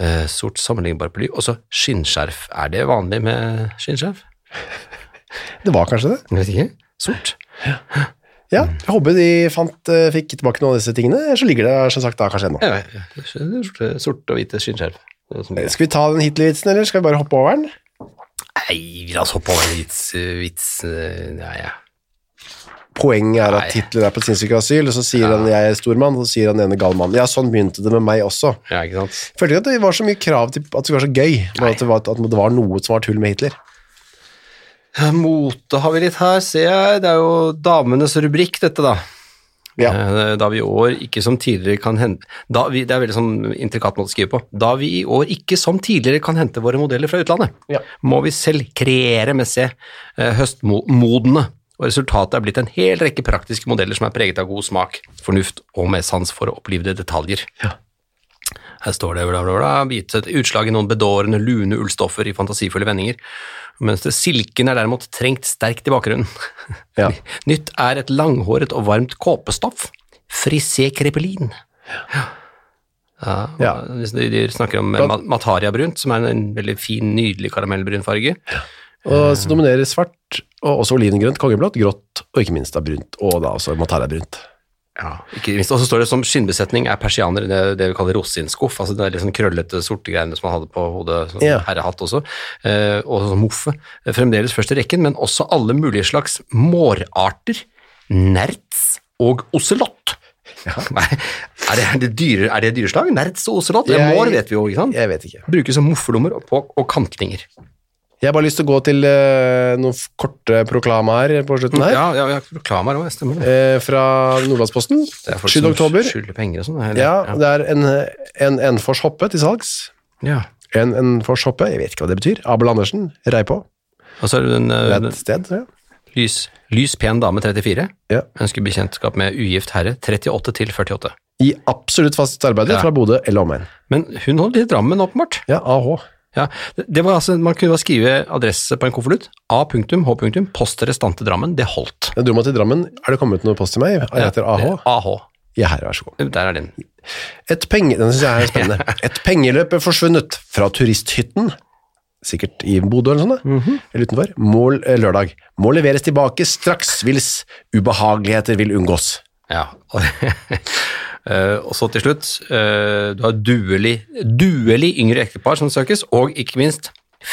Speaker 2: Eh, sort sammenlignbar ply, og så skinnskjerf. Er det vanlig med skinnskjerf?
Speaker 1: Det var kanskje det.
Speaker 2: Jeg vet ikke. Sort.
Speaker 1: Ja,
Speaker 2: Mm.
Speaker 1: jeg håper de fant, eh, fikk tilbake noen av disse tingene, eller så ligger det som sagt da kanskje ennå.
Speaker 2: Ja, ja, ja. Det er Sort, sort og hvite skinnskjerf. Det er som-
Speaker 1: Skal vi ta den Hitler-vitsen, eller skal vi bare hoppe over den?
Speaker 2: Nei, la oss hoppe over en vits, eh, vits eh, Nei, ja.
Speaker 1: poenget er
Speaker 2: Nei.
Speaker 1: at Hitler er på et sinnssyke asyl, og så sier han jeg er stor mann, og så sier han ene gal mann. Ja, sånn begynte det med meg også.
Speaker 2: ja, ikke sant?
Speaker 1: Følte ikke at det var så mye krav til at det var så gøy, men at det var, at det var noe som var tull med Hitler.
Speaker 2: Mote har vi litt her, ser jeg. Det er jo damenes rubrikk, dette, da.
Speaker 1: Ja.
Speaker 2: Eh, Da vi i år ikke som tidligere kan hente da vi, Det er veldig sånn intrikat måte å skrive på. Da vi i år ikke som tidligere kan hente våre modeller fra utlandet,
Speaker 1: Ja.
Speaker 2: må vi selv kreere messig eh, høstmodne. Og resultatet er blitt en hel rekke praktiske modeller som er preget av god smak, fornuft og med sans for å opplivede detaljer. Her står det bla, bla, bla, gitt et utslag i noen bedårende, lune ullstoffer i fantasifulle vendinger, mens det silken er derimot trengt sterkt i bakgrunnen.
Speaker 1: Ja.
Speaker 2: Nytt er et langhåret og varmt kåpestoff, frisé krepelin. Ja,
Speaker 1: Ja.
Speaker 2: De, de snakker om
Speaker 1: Da-
Speaker 2: ma- mataria-brunt, som er en veldig fin, nydelig karamellbrun farge.
Speaker 1: Og så dominerer svart, og også olivengrønt, kongeblått, grått, og ikke minst da brunt, og da også matara-brunt.
Speaker 2: Ikke minst, Og så står det som skinnbesetning er persianer, det, det vi kaller rosinskuff. altså Det er litt sånn krøllete, sorte greiene som man hadde på hodet, sånn
Speaker 1: Ja.
Speaker 2: herrehatt også. Eh, og sånn moffe. Fremdeles først i rekken, men også alle mulige slags mårarter, nerts og oselott. Nei, Er det, er, det dyre, er det dyreslag? Nerts og oselott?
Speaker 1: Jeg-
Speaker 2: Mår vet vi jo, ikke sant?
Speaker 1: Jeg vet ikke.
Speaker 2: Brukes som moffelommer og, på- og kantlinger.
Speaker 1: Jeg har bare lyst til å gå til eh, noen f- korte proklamaer på slutten her.
Speaker 2: Ja, ja, ja reklamer òg, stemmer det.
Speaker 1: Eh, fra Nordlandsposten.
Speaker 2: Det er folk
Speaker 1: 7.
Speaker 2: som
Speaker 1: oktober.
Speaker 2: Skylder penger og sånn. eller?
Speaker 1: Ja, det er en, en Enfors hoppe til salgs.
Speaker 2: ja.
Speaker 1: En Enfors hoppe, jeg vet ikke hva det betyr. Abel Andersen, rei på.
Speaker 2: Og så er det den, eh,
Speaker 1: Det er
Speaker 2: den
Speaker 1: et sted, tror jeg.
Speaker 2: Lys, lys pen dame 34
Speaker 1: Ja.
Speaker 2: ønsker bekjentskap med ugift herre 38 til 48.
Speaker 1: I absolutt fast arbeid
Speaker 2: Ja.
Speaker 1: fra Bodø eller omegn.
Speaker 2: Men hun holdt litt rammen, åpenbart.
Speaker 1: Ja, AH.
Speaker 2: Ja, det det var altså, Man kunne bare skrive adresse på en konvolutt. A punktum, H punktum, post restante Drammen. Det holdt.
Speaker 1: Jeg dro meg til Drammen. Er det kommet noe post til meg? Jeg heter AH.
Speaker 2: Det- AH.
Speaker 1: Ja, her, vær så god.
Speaker 2: Uh, Der er den.
Speaker 1: Et penge... Den synes jeg er spennende. Et pengeløp er forsvunnet fra turisthytten, sikkert i Bodø eller sånn, da, eller utenfor, mål eh, lørdag. Må leveres tilbake straks, hvis ubehageligheter vil unngås.
Speaker 2: Ja. Eh, og så til slutt, eh, du har duelig, duelig yngre ektepar som søkes, og ikke minst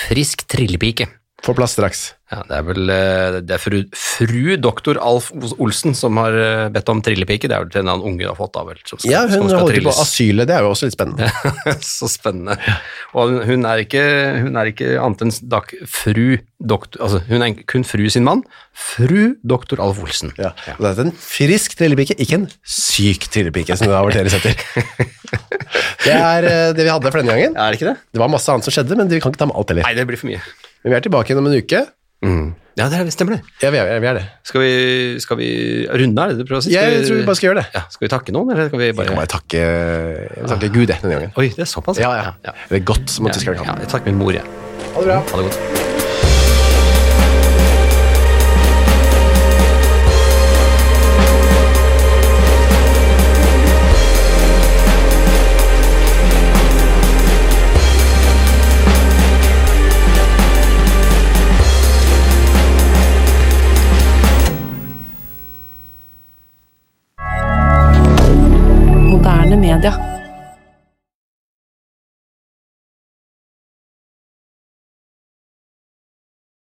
Speaker 2: frisk trillepike.
Speaker 1: Få plass straks.
Speaker 2: Ja, det er vel eh, det er fru, fru doktor Alf Olsen som har eh, bedt om trillepike. Det er vel den han unge har fått da, vel. Som skal,
Speaker 1: Ja,
Speaker 2: som
Speaker 1: hun
Speaker 2: skal
Speaker 1: holder til på
Speaker 2: trilles.
Speaker 1: asylet, det er jo også litt spennende.
Speaker 2: Så spennende. Og hun- hun er ikke, hun er ikke annet enn dak, fru doktor Altså, hun er kun fru sin mann. Fru doktor Alf Olsen.
Speaker 1: Ja. Og Det er en frisk trillepike, ikke en syk trillepike, som det har vært deres etter. Det er eh, det vi hadde for denne gangen.
Speaker 2: Er det ikke det?
Speaker 1: Det var masse annet som skjedde, men vi kan ikke ta med alt heller.
Speaker 2: Nei, det blir for mye. Mm.
Speaker 1: Men vi er tilbake igjen om en uke.
Speaker 2: Ja, det er, stemmer det.
Speaker 1: Ja, vi er, vi er det.
Speaker 2: Skal vi, skal vi runde, er det det du prøver å si? Skal
Speaker 1: Jeg tror vi bare skal gjøre det.
Speaker 2: ja, skal vi takke noen, eller skal vi
Speaker 1: Jeg kan
Speaker 2: bare
Speaker 1: bare takke, jeg vil takke Gud jeg, denne gangen.
Speaker 2: Oi, det er såpass?
Speaker 1: Ja, ja. Det er godt som at vi skal
Speaker 2: Ja, jeg takker min mor, jeg.
Speaker 1: Ha det bra.
Speaker 2: Ha det godt.